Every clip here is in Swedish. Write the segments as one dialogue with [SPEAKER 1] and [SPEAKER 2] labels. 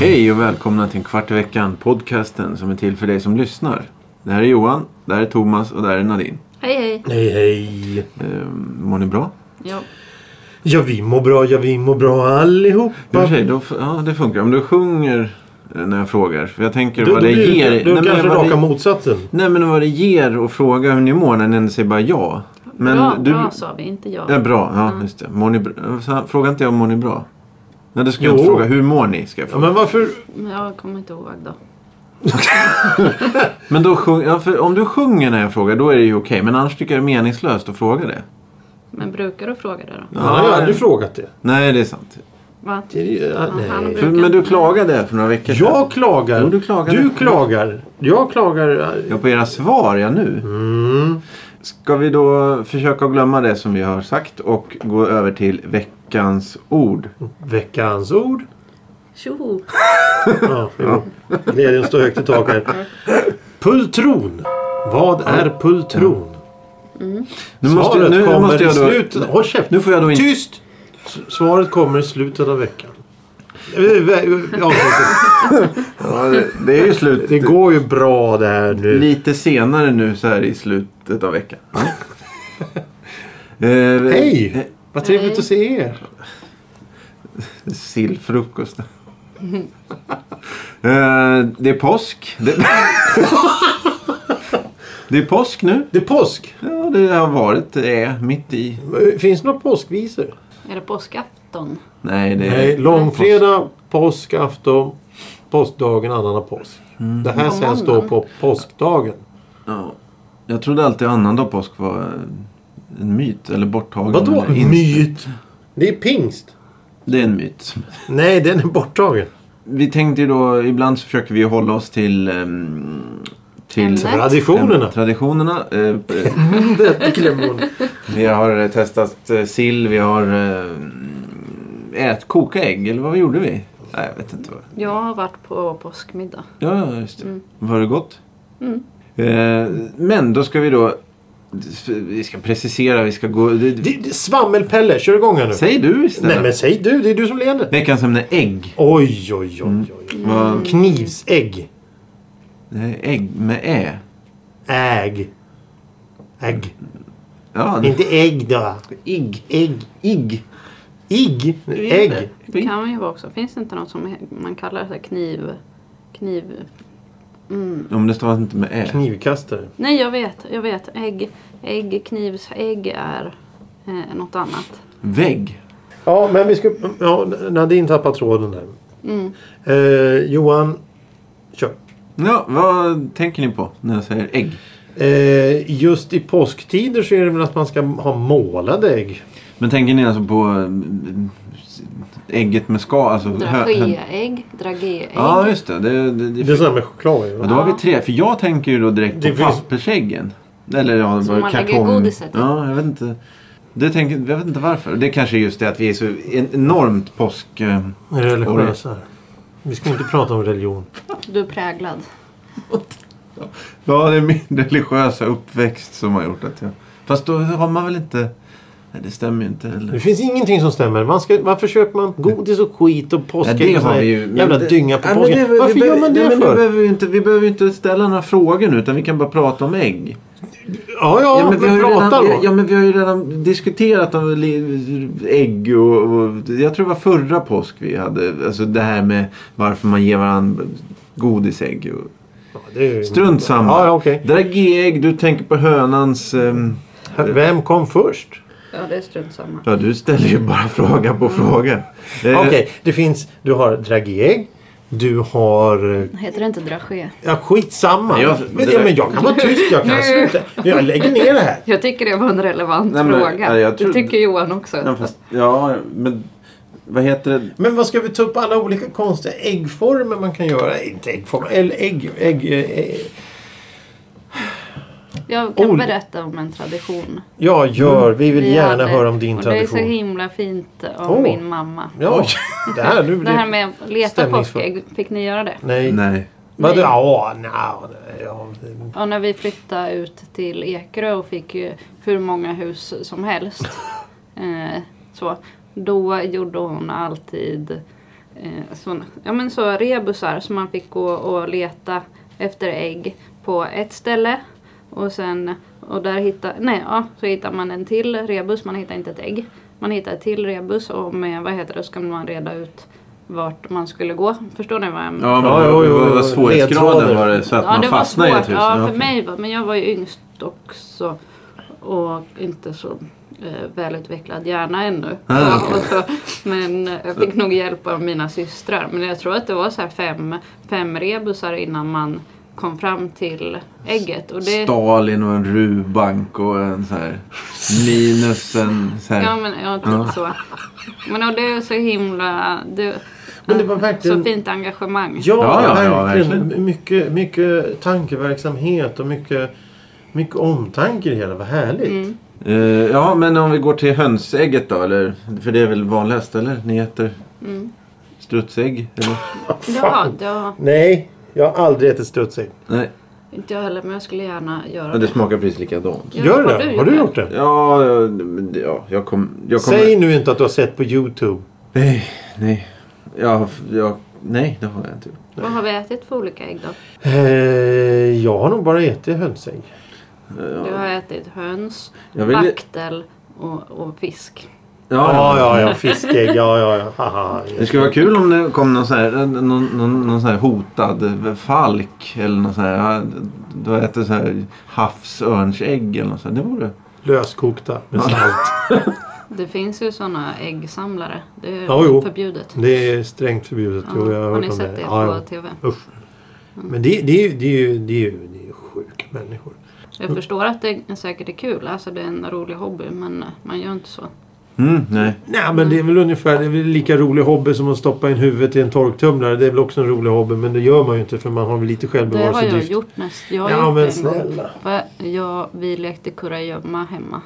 [SPEAKER 1] Hej och välkomna till en kvart i veckan podcasten som är till för dig som lyssnar. Det här är Johan, det här är Thomas och det här är Nadine.
[SPEAKER 2] Hej hej.
[SPEAKER 3] Hej hej!
[SPEAKER 1] Ehm, mår ni bra?
[SPEAKER 2] Ja.
[SPEAKER 3] Ja vi mår bra, ja vi mår bra
[SPEAKER 1] I och för
[SPEAKER 3] allihopa.
[SPEAKER 1] sig, då, f- ja, det funkar. Om du sjunger eh, när jag frågar. För jag tänker
[SPEAKER 3] Då, då,
[SPEAKER 1] vad det
[SPEAKER 3] blir
[SPEAKER 1] ger.
[SPEAKER 3] det, då
[SPEAKER 1] nej, men
[SPEAKER 3] kanske
[SPEAKER 1] vad
[SPEAKER 3] raka
[SPEAKER 1] det,
[SPEAKER 3] motsatsen.
[SPEAKER 1] nej men vad det ger att fråga hur ni mår när ni ändå säger bara ja. Men
[SPEAKER 2] bra,
[SPEAKER 1] du,
[SPEAKER 2] bra Mm. sa vi, inte jag.
[SPEAKER 1] Ja, bra. Ja, just det. Mår ni bra? Så här, Fråga inte jag om mår ni bra. Nej, det ska jag
[SPEAKER 3] Jo.
[SPEAKER 1] inte fråga. Hur mår ni? Ska jag
[SPEAKER 3] Ja,
[SPEAKER 1] fråga.
[SPEAKER 3] men varför?
[SPEAKER 2] Men Jag kommer inte ihåg då.
[SPEAKER 1] Men då sjung, ja, för om du sjunger när jag frågar, då är det ju okej. Men annars tycker jag det är meningslöst att fråga det.
[SPEAKER 2] Men brukar du fråga det då?
[SPEAKER 3] Han har ju
[SPEAKER 1] Ja,
[SPEAKER 3] aldrig frågat det.
[SPEAKER 1] Nej, det är sant.
[SPEAKER 2] Va?
[SPEAKER 3] det är, ju- ah,
[SPEAKER 2] han
[SPEAKER 3] nej.
[SPEAKER 2] brukar-
[SPEAKER 1] För, men du klagade för några veckor
[SPEAKER 3] Jag klagar.
[SPEAKER 1] Jo, du klagar.
[SPEAKER 3] Du klagar. Jag klagar.
[SPEAKER 1] Ja, på era svar, ja nu.
[SPEAKER 3] Mm.
[SPEAKER 1] Ska vi då försöka glömma det som vi har sagt och gå över till veckans ord.
[SPEAKER 3] Veckans ord.
[SPEAKER 2] Tjo!
[SPEAKER 3] Ja, jo. Glädjen står högt i tak här. Pultron. Vad är pultron?
[SPEAKER 1] Nu
[SPEAKER 3] Svaret
[SPEAKER 1] nu
[SPEAKER 3] kommer
[SPEAKER 1] måste jag
[SPEAKER 3] i
[SPEAKER 1] då,
[SPEAKER 3] slutet. Håll käften.
[SPEAKER 1] Nu får jag då inte...
[SPEAKER 3] Tyst! S- Svaret kommer i slutet av veckan. Eh, eh, avsnittet.
[SPEAKER 1] Ja, det, det är ju slut.
[SPEAKER 3] Det går ju bra det här nu.
[SPEAKER 1] Lite senare nu så här i slutet av veckan. eh, eh,
[SPEAKER 3] Hej! Vad trevligt
[SPEAKER 2] Hej.
[SPEAKER 3] att se er.
[SPEAKER 1] Sillfrukost. eh, det är påsk. Det... det är påsk nu.
[SPEAKER 3] Det är påsk. Eh,
[SPEAKER 1] Ja, det har varit. Det är mitt i.
[SPEAKER 3] Finns det några påskvisor?
[SPEAKER 2] Är det påskafton?
[SPEAKER 1] Nej, det är...
[SPEAKER 3] Nej, långfredag, påskafton, påskdagen, annandag påsk. Det här
[SPEAKER 2] På
[SPEAKER 3] sänds då
[SPEAKER 2] måndagen.
[SPEAKER 3] på påskdagen.
[SPEAKER 1] Ja. Jag trodde alltid annandag påsk var en myt eller borttagen.
[SPEAKER 3] Vadå
[SPEAKER 1] eller inställd.
[SPEAKER 3] Mm. myt? Det är pingst.
[SPEAKER 1] Det är en myt.
[SPEAKER 3] Nej, den är borttagen.
[SPEAKER 1] Vi tänkte ju då, ibland så försöker vi hålla oss till... ehm, till
[SPEAKER 2] Ämnet.
[SPEAKER 3] Traditionerna.
[SPEAKER 1] Traditionerna. Eh,
[SPEAKER 3] Det glömmer hon.
[SPEAKER 1] vi har eh, testat eh, sill, vi har eh, ät, koka ägg eller vad gjorde vi? Nej, jag vet inte. vad.
[SPEAKER 2] Jag har varit på påskmiddag.
[SPEAKER 1] Ja, ja, just det. Var det gott? Eh, men då ska vi då... Vi ska precisera, vi ska gå... Det,
[SPEAKER 3] Det- det- Svammel-Pelle, kör igång här nu.
[SPEAKER 1] säg du
[SPEAKER 3] Nej
[SPEAKER 1] istället.
[SPEAKER 3] men säg du, det är du som leder.
[SPEAKER 1] Veckans ämne ägg.
[SPEAKER 3] Oj, oj, oj. oj.
[SPEAKER 1] Vad-
[SPEAKER 3] Knivsägg.
[SPEAKER 1] Det är Ägg med ä.
[SPEAKER 3] Ägg. Ägg.
[SPEAKER 1] Ja,
[SPEAKER 3] Inte ägg då.
[SPEAKER 1] igg.
[SPEAKER 3] Ägg.
[SPEAKER 1] Igg.
[SPEAKER 3] Igg. Ägg.
[SPEAKER 2] Det kan ju vara också. Finns det inte något som he- man kallar så här kniv... Kniv...
[SPEAKER 1] Om det stavas inte med ä.
[SPEAKER 3] Knivkastare.
[SPEAKER 2] Nej, jag vet. Jag vet. Ägg, ägg knivsägg är eh, något annat.
[SPEAKER 1] Vägg.
[SPEAKER 3] Ja, men vi ska... Ja, Nadine tappar tråden där. Eh, Johan, kör.
[SPEAKER 1] Ja, vad tänker ni på när jag säger ägg?
[SPEAKER 3] Eh, just i påsktider så är det väl att man ska ha målade ägg.
[SPEAKER 1] Men tänker ni alltså på mm, ägget med ska? Alltså, hö- hö-
[SPEAKER 2] Dragéägg, dragéägg.
[SPEAKER 1] Ja, just det. det, det, det,
[SPEAKER 3] Det är sådana med choklad.
[SPEAKER 1] ja,
[SPEAKER 3] Ja.
[SPEAKER 1] då har vi tre. För jag tänker ju då direkt
[SPEAKER 3] Det
[SPEAKER 1] på
[SPEAKER 3] finns-
[SPEAKER 1] pappersäggen. Eller ja,
[SPEAKER 2] Som
[SPEAKER 1] vad-
[SPEAKER 2] man lägger
[SPEAKER 1] kartong.
[SPEAKER 2] godiset i.
[SPEAKER 1] Ja, jag vet inte. Det tänker, jag vet inte varför. Det kanske är just det att vi är så en- enormt påsk... eh,
[SPEAKER 3] Religiösa. Vi ska inte prata om religion.
[SPEAKER 2] Du är präglad.
[SPEAKER 1] Ja, det är min religiösa uppväxt som har gjort att jag... Fast då har man väl inte... Nej, det stämmer ju inte
[SPEAKER 3] Det
[SPEAKER 1] heller.
[SPEAKER 3] finns ingenting som stämmer. Man ska, varför köper man godis och skit och påskägg
[SPEAKER 1] Nej, det
[SPEAKER 3] och sån
[SPEAKER 1] har
[SPEAKER 3] här
[SPEAKER 1] vi ju. men
[SPEAKER 3] jävla
[SPEAKER 1] det-
[SPEAKER 3] dynga på
[SPEAKER 1] Nej, men
[SPEAKER 3] påsken?
[SPEAKER 1] det- vi
[SPEAKER 3] varför
[SPEAKER 1] behöver-
[SPEAKER 3] gör man det
[SPEAKER 1] nej, men
[SPEAKER 3] för?
[SPEAKER 1] Vi behöver, ju inte, vi behöver ju inte ställa några frågor nu, utan vi kan bara prata om ägg.
[SPEAKER 3] Ja, ja, men,
[SPEAKER 1] vi har ju
[SPEAKER 3] prata
[SPEAKER 1] redan,
[SPEAKER 3] då.
[SPEAKER 1] ja, men vi har ju redan diskuterat om li- ägg och, och... Jag tror det var förra påsk vi hade. Alltså det här med varför man ger varandra godisägg. Och,
[SPEAKER 3] Ja, det är ju-
[SPEAKER 1] strunt samma.
[SPEAKER 3] Ja, ja, okej.
[SPEAKER 1] Dragéägg, du tänker på hönans... ehm,
[SPEAKER 3] Vem kom först?
[SPEAKER 2] Ja, det är strunt samma.
[SPEAKER 1] Ja, du ställer ju bara fråga på fråga. Eh,
[SPEAKER 3] Okej, det finns... Du har dragéägg. Du har... eh,
[SPEAKER 2] Heter det inte dragé?
[SPEAKER 3] Ja, skitsamma.
[SPEAKER 1] Nej, jag-
[SPEAKER 3] men,
[SPEAKER 1] det-
[SPEAKER 3] ja, men jag kan vara tyst. Jag kan
[SPEAKER 2] Nu.
[SPEAKER 3] sluta. Jag lägger ner det här.
[SPEAKER 2] Jag tycker det var en relevant
[SPEAKER 1] Nej, men,
[SPEAKER 2] fråga.
[SPEAKER 1] ja, jag tror-
[SPEAKER 2] Det tycker Johan också.
[SPEAKER 1] Ja, fast, ja, men vad heter det?
[SPEAKER 3] Men vad ska vi ta upp alla olika konstiga äggformer man kan göra? Inte äggformer, eller ägg... ägg, eh, eh,
[SPEAKER 2] Jag kan
[SPEAKER 3] Ol-
[SPEAKER 2] berätta om en tradition.
[SPEAKER 3] Ja, gör. Vi vill
[SPEAKER 2] vi
[SPEAKER 3] gärna
[SPEAKER 2] hade.
[SPEAKER 3] höra om din
[SPEAKER 2] och Det är så
[SPEAKER 3] tradition.
[SPEAKER 2] himla fint av
[SPEAKER 3] Åh.
[SPEAKER 2] min mamma.
[SPEAKER 3] Ja, det här nu
[SPEAKER 2] Det här
[SPEAKER 3] blir...
[SPEAKER 2] med att leta
[SPEAKER 3] stämningsfullt.
[SPEAKER 2] påskägg, fick ni göra det?
[SPEAKER 3] Nej.
[SPEAKER 1] Nej.
[SPEAKER 3] Vadå?
[SPEAKER 2] Nej.
[SPEAKER 3] Ja, nja, ja, det-
[SPEAKER 2] Ja, när vi flyttade ut till Ekerö och fick ju hur många hus som helst. eh, så. Då gjorde hon alltid eh, sån, ja, men så rebusar som man fick gå och leta efter ägg på ett ställe. Och sen och där hittar, nej, ja, så hittar man en till rebus, man hittar inte ett ägg. Man hittar ett till rebus och med, vad heter det, så kan man reda ut vart man skulle gå. Förstår ni vad jag menar?
[SPEAKER 1] Ja, men
[SPEAKER 3] Ja, jo, jo,
[SPEAKER 1] vad var
[SPEAKER 3] jo.
[SPEAKER 1] svårighetsgraden
[SPEAKER 3] Ledtrådar.
[SPEAKER 1] var det så att man fastnade i ett hus?
[SPEAKER 2] Ja, för
[SPEAKER 1] okej.
[SPEAKER 2] mig var, men jag var ju yngst också och inte så eh, välutvecklad hjärna ännu.
[SPEAKER 1] Ah,
[SPEAKER 2] Ja, och så, men eh, jag fick nog hjälp av mina systrar. Men jag tror att det var så här fem, fem rebusar innan man kom fram till ägget. Och det,
[SPEAKER 1] Stalin och en Rubank och en så här Linus en så här.
[SPEAKER 2] ja, men ja, typ
[SPEAKER 1] Ja.
[SPEAKER 2] så. Men och det är så himla... Det,
[SPEAKER 3] Men det var
[SPEAKER 2] så
[SPEAKER 3] verkligen...
[SPEAKER 2] fint engagemang.
[SPEAKER 3] Ja,
[SPEAKER 1] Ja, ja, ja,
[SPEAKER 3] verkligen.
[SPEAKER 1] verkligen.
[SPEAKER 3] Mycket, mycket tankeverksamhet och mycket, mycket omtanke i det hela. Vad härligt.
[SPEAKER 2] Mm.
[SPEAKER 1] Eh, ja, men om vi går till hönsägget då eller? För det är väl vanligast eller? Ni äter
[SPEAKER 2] Mm.
[SPEAKER 1] strutsägg? Eller?
[SPEAKER 2] Ja, ja,
[SPEAKER 3] Nej, jag har aldrig ätit strutsägg.
[SPEAKER 1] Nej,
[SPEAKER 2] inte jag heller men jag skulle gärna göra
[SPEAKER 1] men det
[SPEAKER 2] det.
[SPEAKER 1] smakar precis likadant.
[SPEAKER 2] Ja,
[SPEAKER 3] Gör
[SPEAKER 2] har
[SPEAKER 3] det?
[SPEAKER 2] du
[SPEAKER 3] har du
[SPEAKER 2] gjort
[SPEAKER 3] gjort det?
[SPEAKER 1] Ja, ja, men det- ja jag, kom, jag kommer...
[SPEAKER 3] Säg nu inte att du har sett på YouTube.
[SPEAKER 1] Nej, nej. Jag, jag, nej, det har jag inte gjort.
[SPEAKER 2] Vad har vi ätit för olika ägg då?
[SPEAKER 3] Eh, jag har nog bara ätit hönsägg.
[SPEAKER 2] Du har ätit höns,
[SPEAKER 1] Jag vill-
[SPEAKER 2] vaktel och, och fisk.
[SPEAKER 1] Ja, ja.
[SPEAKER 3] Ja, ja, ja. Fiskägg. Ja, ja, ja. Haha.
[SPEAKER 1] Det skulle vara kul om det kom någon sån här, någon, någon, någon sån här hotad falk eller någon sån här. Du äter så här havsörnsägg eller något sånt. Det vore...
[SPEAKER 3] Löskokta med salt.
[SPEAKER 2] Det finns ju sådana äggsamlare. Det är
[SPEAKER 3] Ja, jo.
[SPEAKER 2] förbjudet.
[SPEAKER 3] Det är strängt förbjudet. Jo, jag har,
[SPEAKER 2] har
[SPEAKER 3] hört
[SPEAKER 2] ni
[SPEAKER 3] om
[SPEAKER 2] sett det på
[SPEAKER 3] Ja, ja.
[SPEAKER 2] TV?
[SPEAKER 3] Usch. Men det, det, är ju- det, är ju- det, är ju- det är ju sjuka människor. Mm.
[SPEAKER 2] Jag förstår att det är säkert är kul. Alltså det är en rolig hobby men eh, man gör inte så.
[SPEAKER 1] Mm, nej.
[SPEAKER 3] Nej men det är väl ungefär det är väl lika rolig hobby som att stoppa in huvudet i en torktumlare. Det är väl också en rolig hobby men det gör man ju inte för man har väl lite
[SPEAKER 2] Det har jag
[SPEAKER 3] självbevarelsedrift.
[SPEAKER 2] gjort näst. Jag har
[SPEAKER 3] Ja
[SPEAKER 2] gjort
[SPEAKER 3] men
[SPEAKER 2] det en gång.
[SPEAKER 3] snälla.
[SPEAKER 2] Va? Ja, vi lekte kurragömma hemma.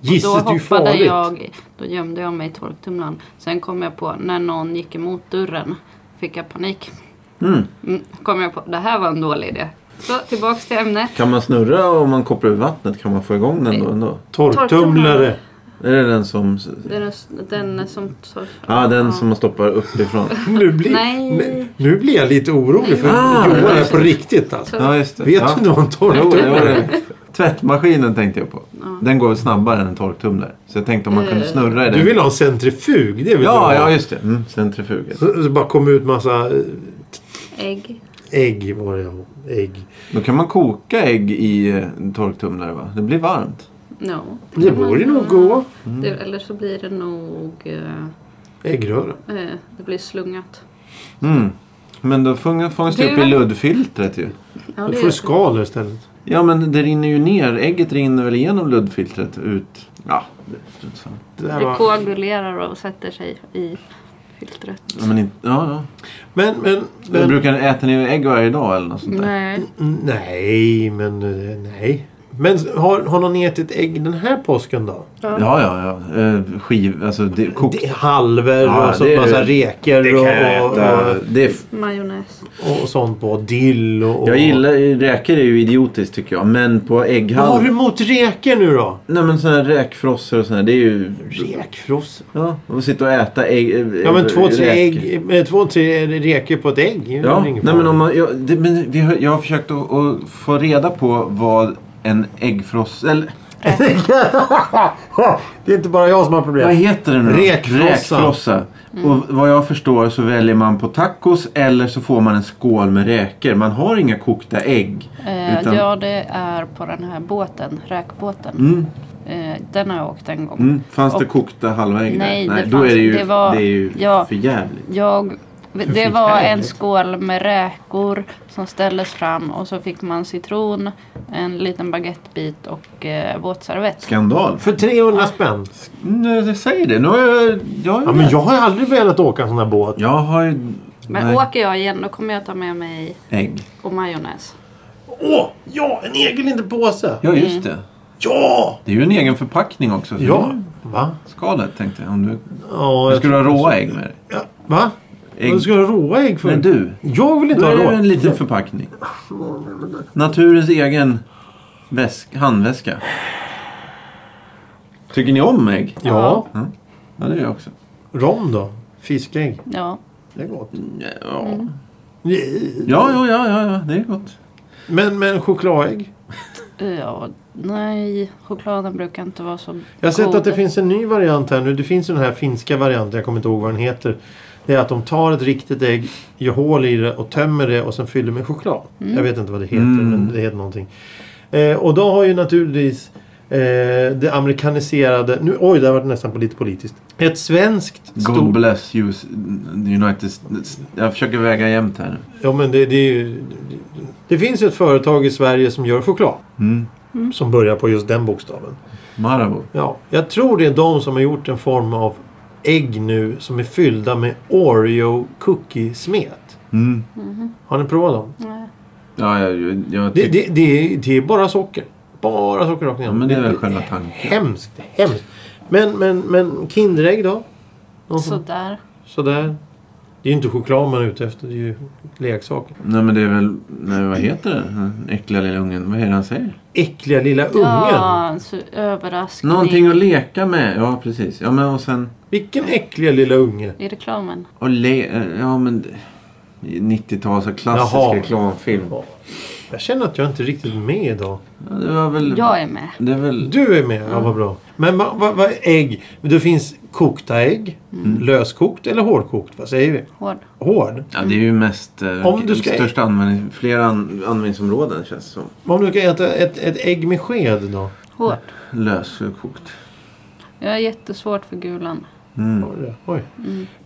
[SPEAKER 3] Gisses
[SPEAKER 2] då
[SPEAKER 3] det är
[SPEAKER 2] hoppade
[SPEAKER 3] ju farligt.
[SPEAKER 2] jag, då gömde jag mig i torktumlaren. Sen kom jag på, när någon gick emot dörren, fick jag panik.
[SPEAKER 1] Mm.
[SPEAKER 2] Mm, kom jag på, det här var en dålig idé. Så tillbaks till ämnet.
[SPEAKER 1] Kan man snurra om man kopplar ur vattnet? Kan man få igång den då ändå?
[SPEAKER 3] Torktumlare.
[SPEAKER 2] Torktumlare.
[SPEAKER 1] Är det den som...
[SPEAKER 2] Den, är, s- den är som... Så,
[SPEAKER 1] Ja, den som man stoppar uppifrån.
[SPEAKER 3] Nu blir,
[SPEAKER 2] Nej.
[SPEAKER 3] nu- nu blir jag lite orolig för
[SPEAKER 1] Ah,
[SPEAKER 3] Johan är
[SPEAKER 1] just
[SPEAKER 3] på riktigt alltså.
[SPEAKER 1] Ja, just det.
[SPEAKER 3] Vet
[SPEAKER 1] ja.
[SPEAKER 3] du inte vad en
[SPEAKER 1] Jo, det
[SPEAKER 3] torktumlare
[SPEAKER 1] var
[SPEAKER 3] är?
[SPEAKER 1] det. Tvättmaskinen tänkte jag på. Den går snabbare än en torktumlare. Så jag tänkte om man kunde
[SPEAKER 2] Eh.
[SPEAKER 1] snurra i den.
[SPEAKER 3] Du vill ha en centrifug? Det vill
[SPEAKER 1] Ja,
[SPEAKER 3] du ha.
[SPEAKER 1] ja just det. Mm, centrifuget.
[SPEAKER 3] Så, så bara kom ut massa eh,
[SPEAKER 2] ägg.
[SPEAKER 3] ägg var det. ja. Ägg.
[SPEAKER 1] Då kan man koka ägg i eh, en torktumlare va? Det blir varmt.
[SPEAKER 2] No. Mm.
[SPEAKER 3] Det borde nog gå.
[SPEAKER 2] Det, eller så blir det nog... eh,
[SPEAKER 3] Äggröra.
[SPEAKER 2] eh, det blir slungat.
[SPEAKER 1] Mm. Men då fångas, fångas det
[SPEAKER 2] Du-
[SPEAKER 1] upp i luddfiltret ju.
[SPEAKER 2] Ja,
[SPEAKER 3] Du
[SPEAKER 2] det
[SPEAKER 3] får
[SPEAKER 2] är,
[SPEAKER 3] skaler istället.
[SPEAKER 1] Ja men det rinner ju ner. Ägget rinner väl igenom luddfiltret ut. Ja, det- strunt samma.
[SPEAKER 3] Det där
[SPEAKER 2] det
[SPEAKER 3] var-
[SPEAKER 2] koagulerar och sätter sig i filtret.
[SPEAKER 1] ja, men inte, ja, ja.
[SPEAKER 3] Men, men,
[SPEAKER 1] Men,
[SPEAKER 3] men
[SPEAKER 1] brukar ni äta ni ägg varje dag eller något sånt där?
[SPEAKER 2] Nej.
[SPEAKER 3] Mm, Nej, men eh, nej. Men har, har någon ätit ägg den här påsken då?
[SPEAKER 1] Ja, ja, ja. Eh, Skiv, alltså det, kokt.
[SPEAKER 3] Det är halver
[SPEAKER 1] Ja,
[SPEAKER 3] och så
[SPEAKER 1] det är-
[SPEAKER 3] massa reker
[SPEAKER 1] Det kan jag
[SPEAKER 3] och,
[SPEAKER 1] äta.
[SPEAKER 3] och,
[SPEAKER 1] Det är
[SPEAKER 2] Majonnäs.
[SPEAKER 3] och, och sånt på. Dill och...
[SPEAKER 1] Jag gillar räkor är ju idiotiskt tycker jag. Men på
[SPEAKER 3] Vad har
[SPEAKER 1] ägghall.
[SPEAKER 3] du emot räkor nu då?
[SPEAKER 1] Nej men sådana här räkfrossor och sådana det är ju...
[SPEAKER 3] Räkfrossa?
[SPEAKER 1] Ja, och sitta och äta ägg. eh,
[SPEAKER 3] Ja men två, tre
[SPEAKER 1] räkor.
[SPEAKER 3] ägg. eh, Två, tre räkor på ett ägg. det är
[SPEAKER 1] Ja,
[SPEAKER 3] väl ingen
[SPEAKER 1] nej
[SPEAKER 3] fara.
[SPEAKER 1] men om man, jag, det, men vi har, jag har försökt att, att få reda på vad en äggfross... Eller
[SPEAKER 3] Det är inte bara jag som har problem.
[SPEAKER 1] vad heter det nu då?
[SPEAKER 3] Räkfrossa.
[SPEAKER 1] Räkfrossa.
[SPEAKER 2] Mm.
[SPEAKER 1] Och vad jag förstår så väljer man på tacos eller så får man en skål med räkor. Man har inga kokta ägg.
[SPEAKER 2] Eh,
[SPEAKER 1] Utan-
[SPEAKER 2] Ja, det är på den här båten, räkbåten.
[SPEAKER 1] Mm,
[SPEAKER 2] Eh, den har jag åkt en gång.
[SPEAKER 1] mm. Fanns det
[SPEAKER 2] Och-
[SPEAKER 1] kokta halva ägg där?
[SPEAKER 2] Nej, det
[SPEAKER 1] då
[SPEAKER 2] fanns-
[SPEAKER 1] är det ju,
[SPEAKER 2] det var-
[SPEAKER 1] det är ju
[SPEAKER 2] ja.
[SPEAKER 1] för jävligt.
[SPEAKER 2] Jag, det
[SPEAKER 3] fick
[SPEAKER 2] var en
[SPEAKER 3] härligt.
[SPEAKER 2] skål med räkor som ställdes fram och så fick man citron, en liten baguettebit och eh, våtservett.
[SPEAKER 1] Skandal.
[SPEAKER 3] För 300 spänn?
[SPEAKER 1] Nej, jag säger det. Nu har jag... jag,
[SPEAKER 3] Ja men jag har aldrig velat åka en sån här båt.
[SPEAKER 1] jag har ju...
[SPEAKER 2] Men
[SPEAKER 1] nej,
[SPEAKER 2] åker jag igen då kommer jag ta med mig
[SPEAKER 1] ägg.
[SPEAKER 2] och majonnäs.
[SPEAKER 3] Åh, ja, en egen liten påse!
[SPEAKER 1] Ja,
[SPEAKER 2] Mm.
[SPEAKER 1] just det.
[SPEAKER 3] Ja!
[SPEAKER 1] Det är ju en egen förpackning också. så
[SPEAKER 3] Ja!
[SPEAKER 1] det
[SPEAKER 3] Va?
[SPEAKER 1] är Skalet tänkte jag. Om du,
[SPEAKER 3] Ja,
[SPEAKER 1] du
[SPEAKER 3] jag
[SPEAKER 1] skulle ha
[SPEAKER 3] tror-
[SPEAKER 1] råa ägg med dig.
[SPEAKER 3] Ja, va?
[SPEAKER 1] Ägg.
[SPEAKER 3] Vad ska jag ha råa ägg för?
[SPEAKER 1] Men du,
[SPEAKER 3] Jag vill
[SPEAKER 1] då
[SPEAKER 3] inte ha
[SPEAKER 1] är det
[SPEAKER 3] råa.
[SPEAKER 1] ju en liten förpackning. Naturens egen väsk, handväska. Tycker ni om ägg?
[SPEAKER 3] Ja.
[SPEAKER 1] Ja, det gör jag också.
[SPEAKER 3] Rom då? Fiskägg?
[SPEAKER 2] Ja.
[SPEAKER 3] Det är gott.
[SPEAKER 1] Ja, ja, ja, ja, ja det är gott.
[SPEAKER 3] Men, men chokladägg?
[SPEAKER 2] ja. Nej, chokladen brukar inte vara så
[SPEAKER 3] Jag har sett
[SPEAKER 2] god.
[SPEAKER 3] att det finns en ny variant här nu. Det finns ju den här finska varianten. Jag kommer inte ihåg vad den heter. Det är att de tar ett riktigt ägg, gör hål i det och tömmer det och sen fyller med choklad. Jag vet inte vad det heter
[SPEAKER 1] Mm.
[SPEAKER 3] men det heter någonting. Eh, och då har ju naturligtvis eh, det amerikaniserade... Nu, oj, det har varit nästan på lite politiskt. Ett svenskt...
[SPEAKER 1] God bless you, United States. Jag försöker väga jämnt här nu.
[SPEAKER 3] Ja, men det, det, är ju- det finns ju ett företag i Sverige som gör choklad.
[SPEAKER 1] Mm.
[SPEAKER 3] Som börjar på just den bokstaven.
[SPEAKER 1] Marabou.
[SPEAKER 3] Ja, jag tror det är de som har gjort en form av ägg nu som är fyllda med Oreo cookie-smet.
[SPEAKER 1] Mm.
[SPEAKER 3] Har ni provat dem?
[SPEAKER 2] Mhm, Nej.
[SPEAKER 1] Ja, jag, jag, jag
[SPEAKER 3] Det,
[SPEAKER 1] tycker...
[SPEAKER 3] det, det, är, det är bara socker. Bara socker rakt
[SPEAKER 1] ja,
[SPEAKER 3] igenom.
[SPEAKER 1] men det är väl själva tanken.
[SPEAKER 3] Hemskt, hemskt. Men, men, men Kinderägg då? Någon som,
[SPEAKER 2] Sådär.
[SPEAKER 3] sådär. Det är ju inte choklad man är ute efter. Det är ju leksaker.
[SPEAKER 1] Nej, men det är väl... Nej, vad heter det? Den äckliga lilla ungen. Vad är det han säger?
[SPEAKER 3] Äckliga lilla ungen.
[SPEAKER 2] Ja, så överraskning.
[SPEAKER 1] Någonting att leka med. Ja, precis. Ja, men och sen...
[SPEAKER 3] Vilken äckliga lilla unge.
[SPEAKER 2] I reklamen.
[SPEAKER 1] Och le... eh, Ja, men... 90-tals och klassisk
[SPEAKER 3] Jaha.
[SPEAKER 1] reklamfilm.
[SPEAKER 3] Ja. Jag känner att jag inte är riktigt är med idag.
[SPEAKER 1] Ja, det var väl...
[SPEAKER 2] Jag är med.
[SPEAKER 1] Det är väl...
[SPEAKER 3] Du är med, ja
[SPEAKER 2] Mm.
[SPEAKER 3] vad bra. Men vad va, va, ägg? Det finns kokta ägg.
[SPEAKER 2] Mm.
[SPEAKER 3] Löskokt eller hårdkokt? Vad säger vi?
[SPEAKER 2] Hård.
[SPEAKER 3] Hård.
[SPEAKER 1] Ja, det är ju mest... Eh,
[SPEAKER 3] Om du ska-
[SPEAKER 1] Största användning... Flera an... användningsområden känns det som.
[SPEAKER 3] Men Om du ska äta ett, ett ägg med sked
[SPEAKER 2] Mm.
[SPEAKER 3] då?
[SPEAKER 2] Hård.
[SPEAKER 1] Löskokt.
[SPEAKER 2] Jag har jättesvårt för gulan.
[SPEAKER 1] Mm.
[SPEAKER 3] Oj, Oj.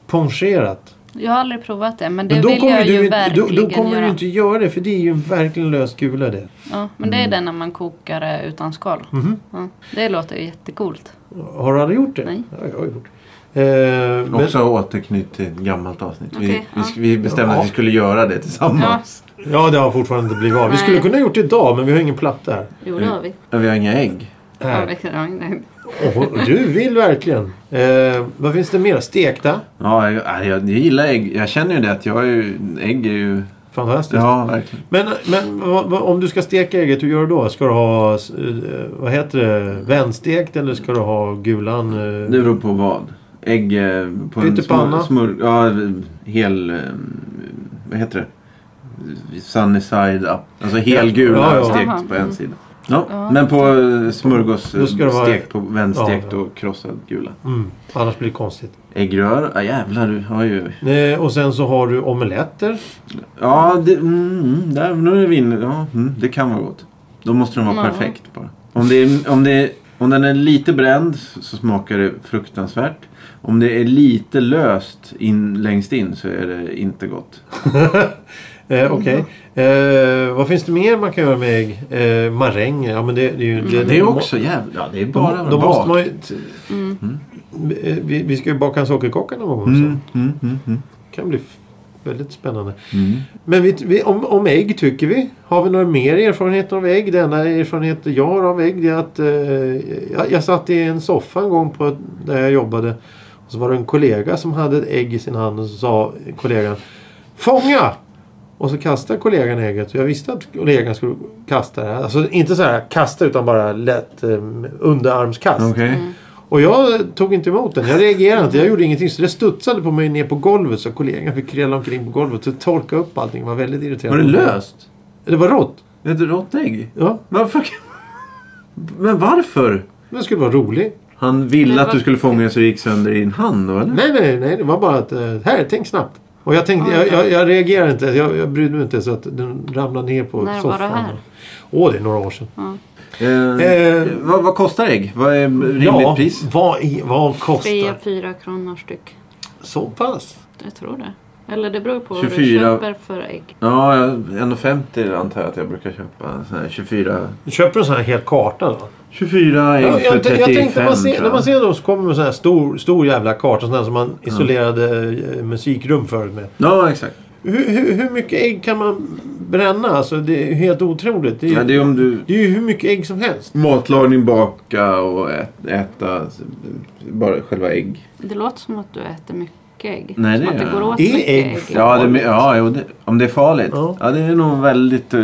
[SPEAKER 3] Poncherat.
[SPEAKER 2] Jag har aldrig provat det, men det
[SPEAKER 3] Men då
[SPEAKER 2] vill
[SPEAKER 3] kommer,
[SPEAKER 2] jag ju
[SPEAKER 3] du, inte- då,
[SPEAKER 2] verkligen
[SPEAKER 3] då kommer
[SPEAKER 2] göra.
[SPEAKER 3] du inte göra det för det är ju en verkligen lös gula det.
[SPEAKER 2] Ja, men det
[SPEAKER 3] Mm.
[SPEAKER 2] är den när man kokar eh, utan skal.
[SPEAKER 3] Mhm.
[SPEAKER 2] Ja, det låter ju jättecoolt.
[SPEAKER 3] Har du aldrig gjort det?
[SPEAKER 2] Nej.
[SPEAKER 3] Ja, jag har gjort. Eh, men,
[SPEAKER 1] Också återknyt till ett gammalt avsnitt. vi,
[SPEAKER 2] Okej,
[SPEAKER 1] vi,
[SPEAKER 2] ja.
[SPEAKER 1] sk- vi bestämde att vi
[SPEAKER 3] Ja.
[SPEAKER 1] skulle göra det tillsammans.
[SPEAKER 3] ja, det har fortfarande inte blivit av. Vi
[SPEAKER 2] Nej.
[SPEAKER 3] skulle kunna ha gjort det idag men vi har ingen platta här.
[SPEAKER 2] Jo, det har vi.
[SPEAKER 1] Ja. Vi har inga ägg.
[SPEAKER 2] Ja,
[SPEAKER 3] Eh, här.
[SPEAKER 2] vi kan ha in den.
[SPEAKER 3] Åh, du vill verkligen. Eh, vad finns det mer? Stekta?
[SPEAKER 1] Ja, jag, jag, jag gillar ägg. Jag känner ju det att jag är ju... Ägg är ju...
[SPEAKER 3] Fantastiskt.
[SPEAKER 1] Ja, verkligen.
[SPEAKER 3] Men, men vad, vad, om du ska steka ägget, hur gör du då? Ska du ha eh, vad heter det, vänstekt eller ska du ha gulan? eh?
[SPEAKER 1] Det beror på vad. Ägg eh, på en
[SPEAKER 3] Pyttipanna.
[SPEAKER 1] smör, smör... Ja, hel... eh, Vad heter det? Sunny side up. Alltså helgula
[SPEAKER 3] Ja, ja.
[SPEAKER 1] stekt
[SPEAKER 2] Jaha,
[SPEAKER 1] på en
[SPEAKER 2] mm.
[SPEAKER 1] sida. Ja,
[SPEAKER 2] Ja.
[SPEAKER 1] men på eh, smörgås eh,
[SPEAKER 3] Då ska det vara-
[SPEAKER 1] stekt på vänstekt
[SPEAKER 3] Ja, ja.
[SPEAKER 1] och krossad gula.
[SPEAKER 3] Mm, annars blir det konstigt.
[SPEAKER 1] Äggrör? Ja, jävlar, du har ju...
[SPEAKER 3] Eh, och sen så har du omeletter.
[SPEAKER 1] Ja, det, mm, mm, där, nu är vi inne. Ja, mm, det kan vara gott. Då måste den vara
[SPEAKER 2] Ja.
[SPEAKER 1] perfekt bara. Om, det är, om, det är, om den är lite bränd så så smakar det fruktansvärt. Om det är lite löst in, längst in så är det inte gott.
[SPEAKER 3] Eh, Okej. Eh, vad finns det mer man kan göra med ägg? Eh, maränger. Ja, men det, det är ju...
[SPEAKER 1] Mm, Det är också jävligt... Ja, det är
[SPEAKER 3] Då,
[SPEAKER 1] bara
[SPEAKER 3] då måste
[SPEAKER 1] bak.
[SPEAKER 3] man ju, Eh, vi, vi ska ju baka en sockerkaka någon gång.
[SPEAKER 1] Mm,
[SPEAKER 3] Så.
[SPEAKER 1] mm, mm, mm,
[SPEAKER 3] Det kan bli f- väldigt spännande.
[SPEAKER 1] mm.
[SPEAKER 3] Men vi, vi, om, om ägg tycker vi. Har vi några mer erfarenheter av ägg? Den enda erfarenhet jag har av ägg det är att eh, jag, jag satt i en soffa en gång på, ett- där jag jobbade. Och så var det en kollega som hade ett ägg i sin hand och så sa kollegan Fånga! Och så kastade kollegan ägget. Jag visste att kollegan skulle kasta det. Alltså inte så här kasta utan bara lätt eh, underarmskast.
[SPEAKER 1] Okej.
[SPEAKER 2] mm.
[SPEAKER 3] Och jag tog inte emot den. Jag reagerade inte. Jag gjorde ingenting. Så det studsade på mig ner på golvet så kollegan fick kräla omkring på golvet och torka upp allting. Det var väldigt
[SPEAKER 1] Var
[SPEAKER 3] irriterande.
[SPEAKER 1] det löst?
[SPEAKER 3] Det var rått.
[SPEAKER 1] Ett rått ägg?
[SPEAKER 3] Ja.
[SPEAKER 1] Varför? Men varför?
[SPEAKER 3] Men det skulle vara roligt.
[SPEAKER 1] Han ville
[SPEAKER 2] Men
[SPEAKER 1] att du
[SPEAKER 2] vad-
[SPEAKER 1] skulle fånga så det gick sönder i din hand då, eller?
[SPEAKER 3] Nej, nej, nej. Det var bara att eh, här, tänk snabbt. Och jag tänkte, jag, jag, jag reagerade inte. Jag, jag brydde mig inte så att den ramlade ner på
[SPEAKER 2] När var
[SPEAKER 3] soffan.
[SPEAKER 2] det här?
[SPEAKER 3] Åh, det är några år sedan.
[SPEAKER 1] Eh,
[SPEAKER 3] Eh,
[SPEAKER 1] vad, vad kostar ägg? Vad är rimligt
[SPEAKER 3] ja,
[SPEAKER 1] pris?
[SPEAKER 3] Vad, i, vad kostar?
[SPEAKER 2] Tre, fyra kronor styck.
[SPEAKER 3] Så pass?
[SPEAKER 2] Jag tror det. Eller det beror på vad
[SPEAKER 1] 24.
[SPEAKER 2] du köper för ägg.
[SPEAKER 1] Ja, jag- 1,50 antar jag att jag brukar köpa. Sån här 24,
[SPEAKER 3] Du köper en sån här hel karta då?
[SPEAKER 1] 24 ägg
[SPEAKER 3] Ja,
[SPEAKER 1] för
[SPEAKER 3] jag,
[SPEAKER 1] 35
[SPEAKER 3] jag tänkte man ser,
[SPEAKER 1] tror
[SPEAKER 3] när
[SPEAKER 1] jag.
[SPEAKER 3] man ser dem så kommer man sån här stor, stor jävla karta. Sån här som man isolerade eh, musikrum förut med.
[SPEAKER 1] Ja, exakt.
[SPEAKER 3] Hur, hur, hur mycket ägg kan man bränna. Alltså, det är helt otroligt. Det är,
[SPEAKER 1] Ja, det är om du
[SPEAKER 3] det är ju hur mycket ägg som helst.
[SPEAKER 1] matlagning, baka och ä- äta s- bara själva ägg.
[SPEAKER 2] Det låter som att du äter mycket ägg.
[SPEAKER 1] Nej,
[SPEAKER 2] som
[SPEAKER 1] det
[SPEAKER 2] att det
[SPEAKER 1] gör
[SPEAKER 2] går
[SPEAKER 1] jag
[SPEAKER 2] åt
[SPEAKER 3] inte. Är
[SPEAKER 2] mycket
[SPEAKER 3] ägg
[SPEAKER 2] ägg.
[SPEAKER 1] Ja, det, men- ja jo, det, om det är farligt.
[SPEAKER 3] Ja.
[SPEAKER 1] Ja. det är nog väldigt... eh,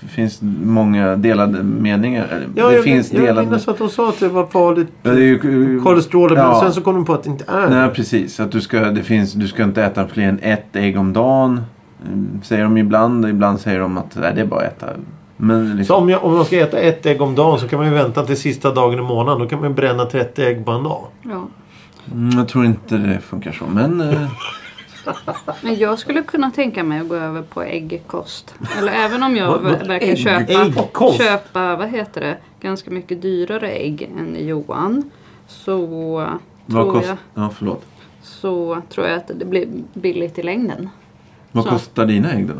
[SPEAKER 1] Det finns många delade meningar. Eller,
[SPEAKER 3] Ja,
[SPEAKER 1] det
[SPEAKER 3] jag
[SPEAKER 1] finns
[SPEAKER 3] jag
[SPEAKER 1] delade...
[SPEAKER 3] minns att de sa att det var farligt.
[SPEAKER 1] Ja, det är ju,
[SPEAKER 3] Kolesterol. Men
[SPEAKER 1] Ja.
[SPEAKER 3] sen så kom de på att det inte är
[SPEAKER 1] Nej, precis. Att du, ska, det finns, du ska inte äta fler än ett ägg om dagen. Mm, Säger de ibland. Ibland säger de att nej, det är bara att äta. Men
[SPEAKER 3] Så
[SPEAKER 1] liksom,
[SPEAKER 3] om, jag, om man ska äta ett ägg om dagen så kan man ju vänta till sista dagen i månaden. Då kan man ju bränna 30 ägg på en dag.
[SPEAKER 2] Ja.
[SPEAKER 1] mm, jag tror inte det funkar så. Men eh,
[SPEAKER 2] Men jag skulle kunna tänka mig att gå över på äggkost. Eller även om jag
[SPEAKER 3] Vad- vad-
[SPEAKER 2] ver- verkar
[SPEAKER 3] ägg-
[SPEAKER 2] köpa,
[SPEAKER 3] äggkost?
[SPEAKER 2] köpa, vad heter det, ganska mycket dyrare ägg än Johan. Så
[SPEAKER 1] vad
[SPEAKER 2] tror,
[SPEAKER 1] kostar...
[SPEAKER 2] jag,
[SPEAKER 1] Ja, förlåt.
[SPEAKER 2] så tror jag att det blir billigt i längden.
[SPEAKER 1] Vad
[SPEAKER 2] Så.
[SPEAKER 1] kostar dina ägg då?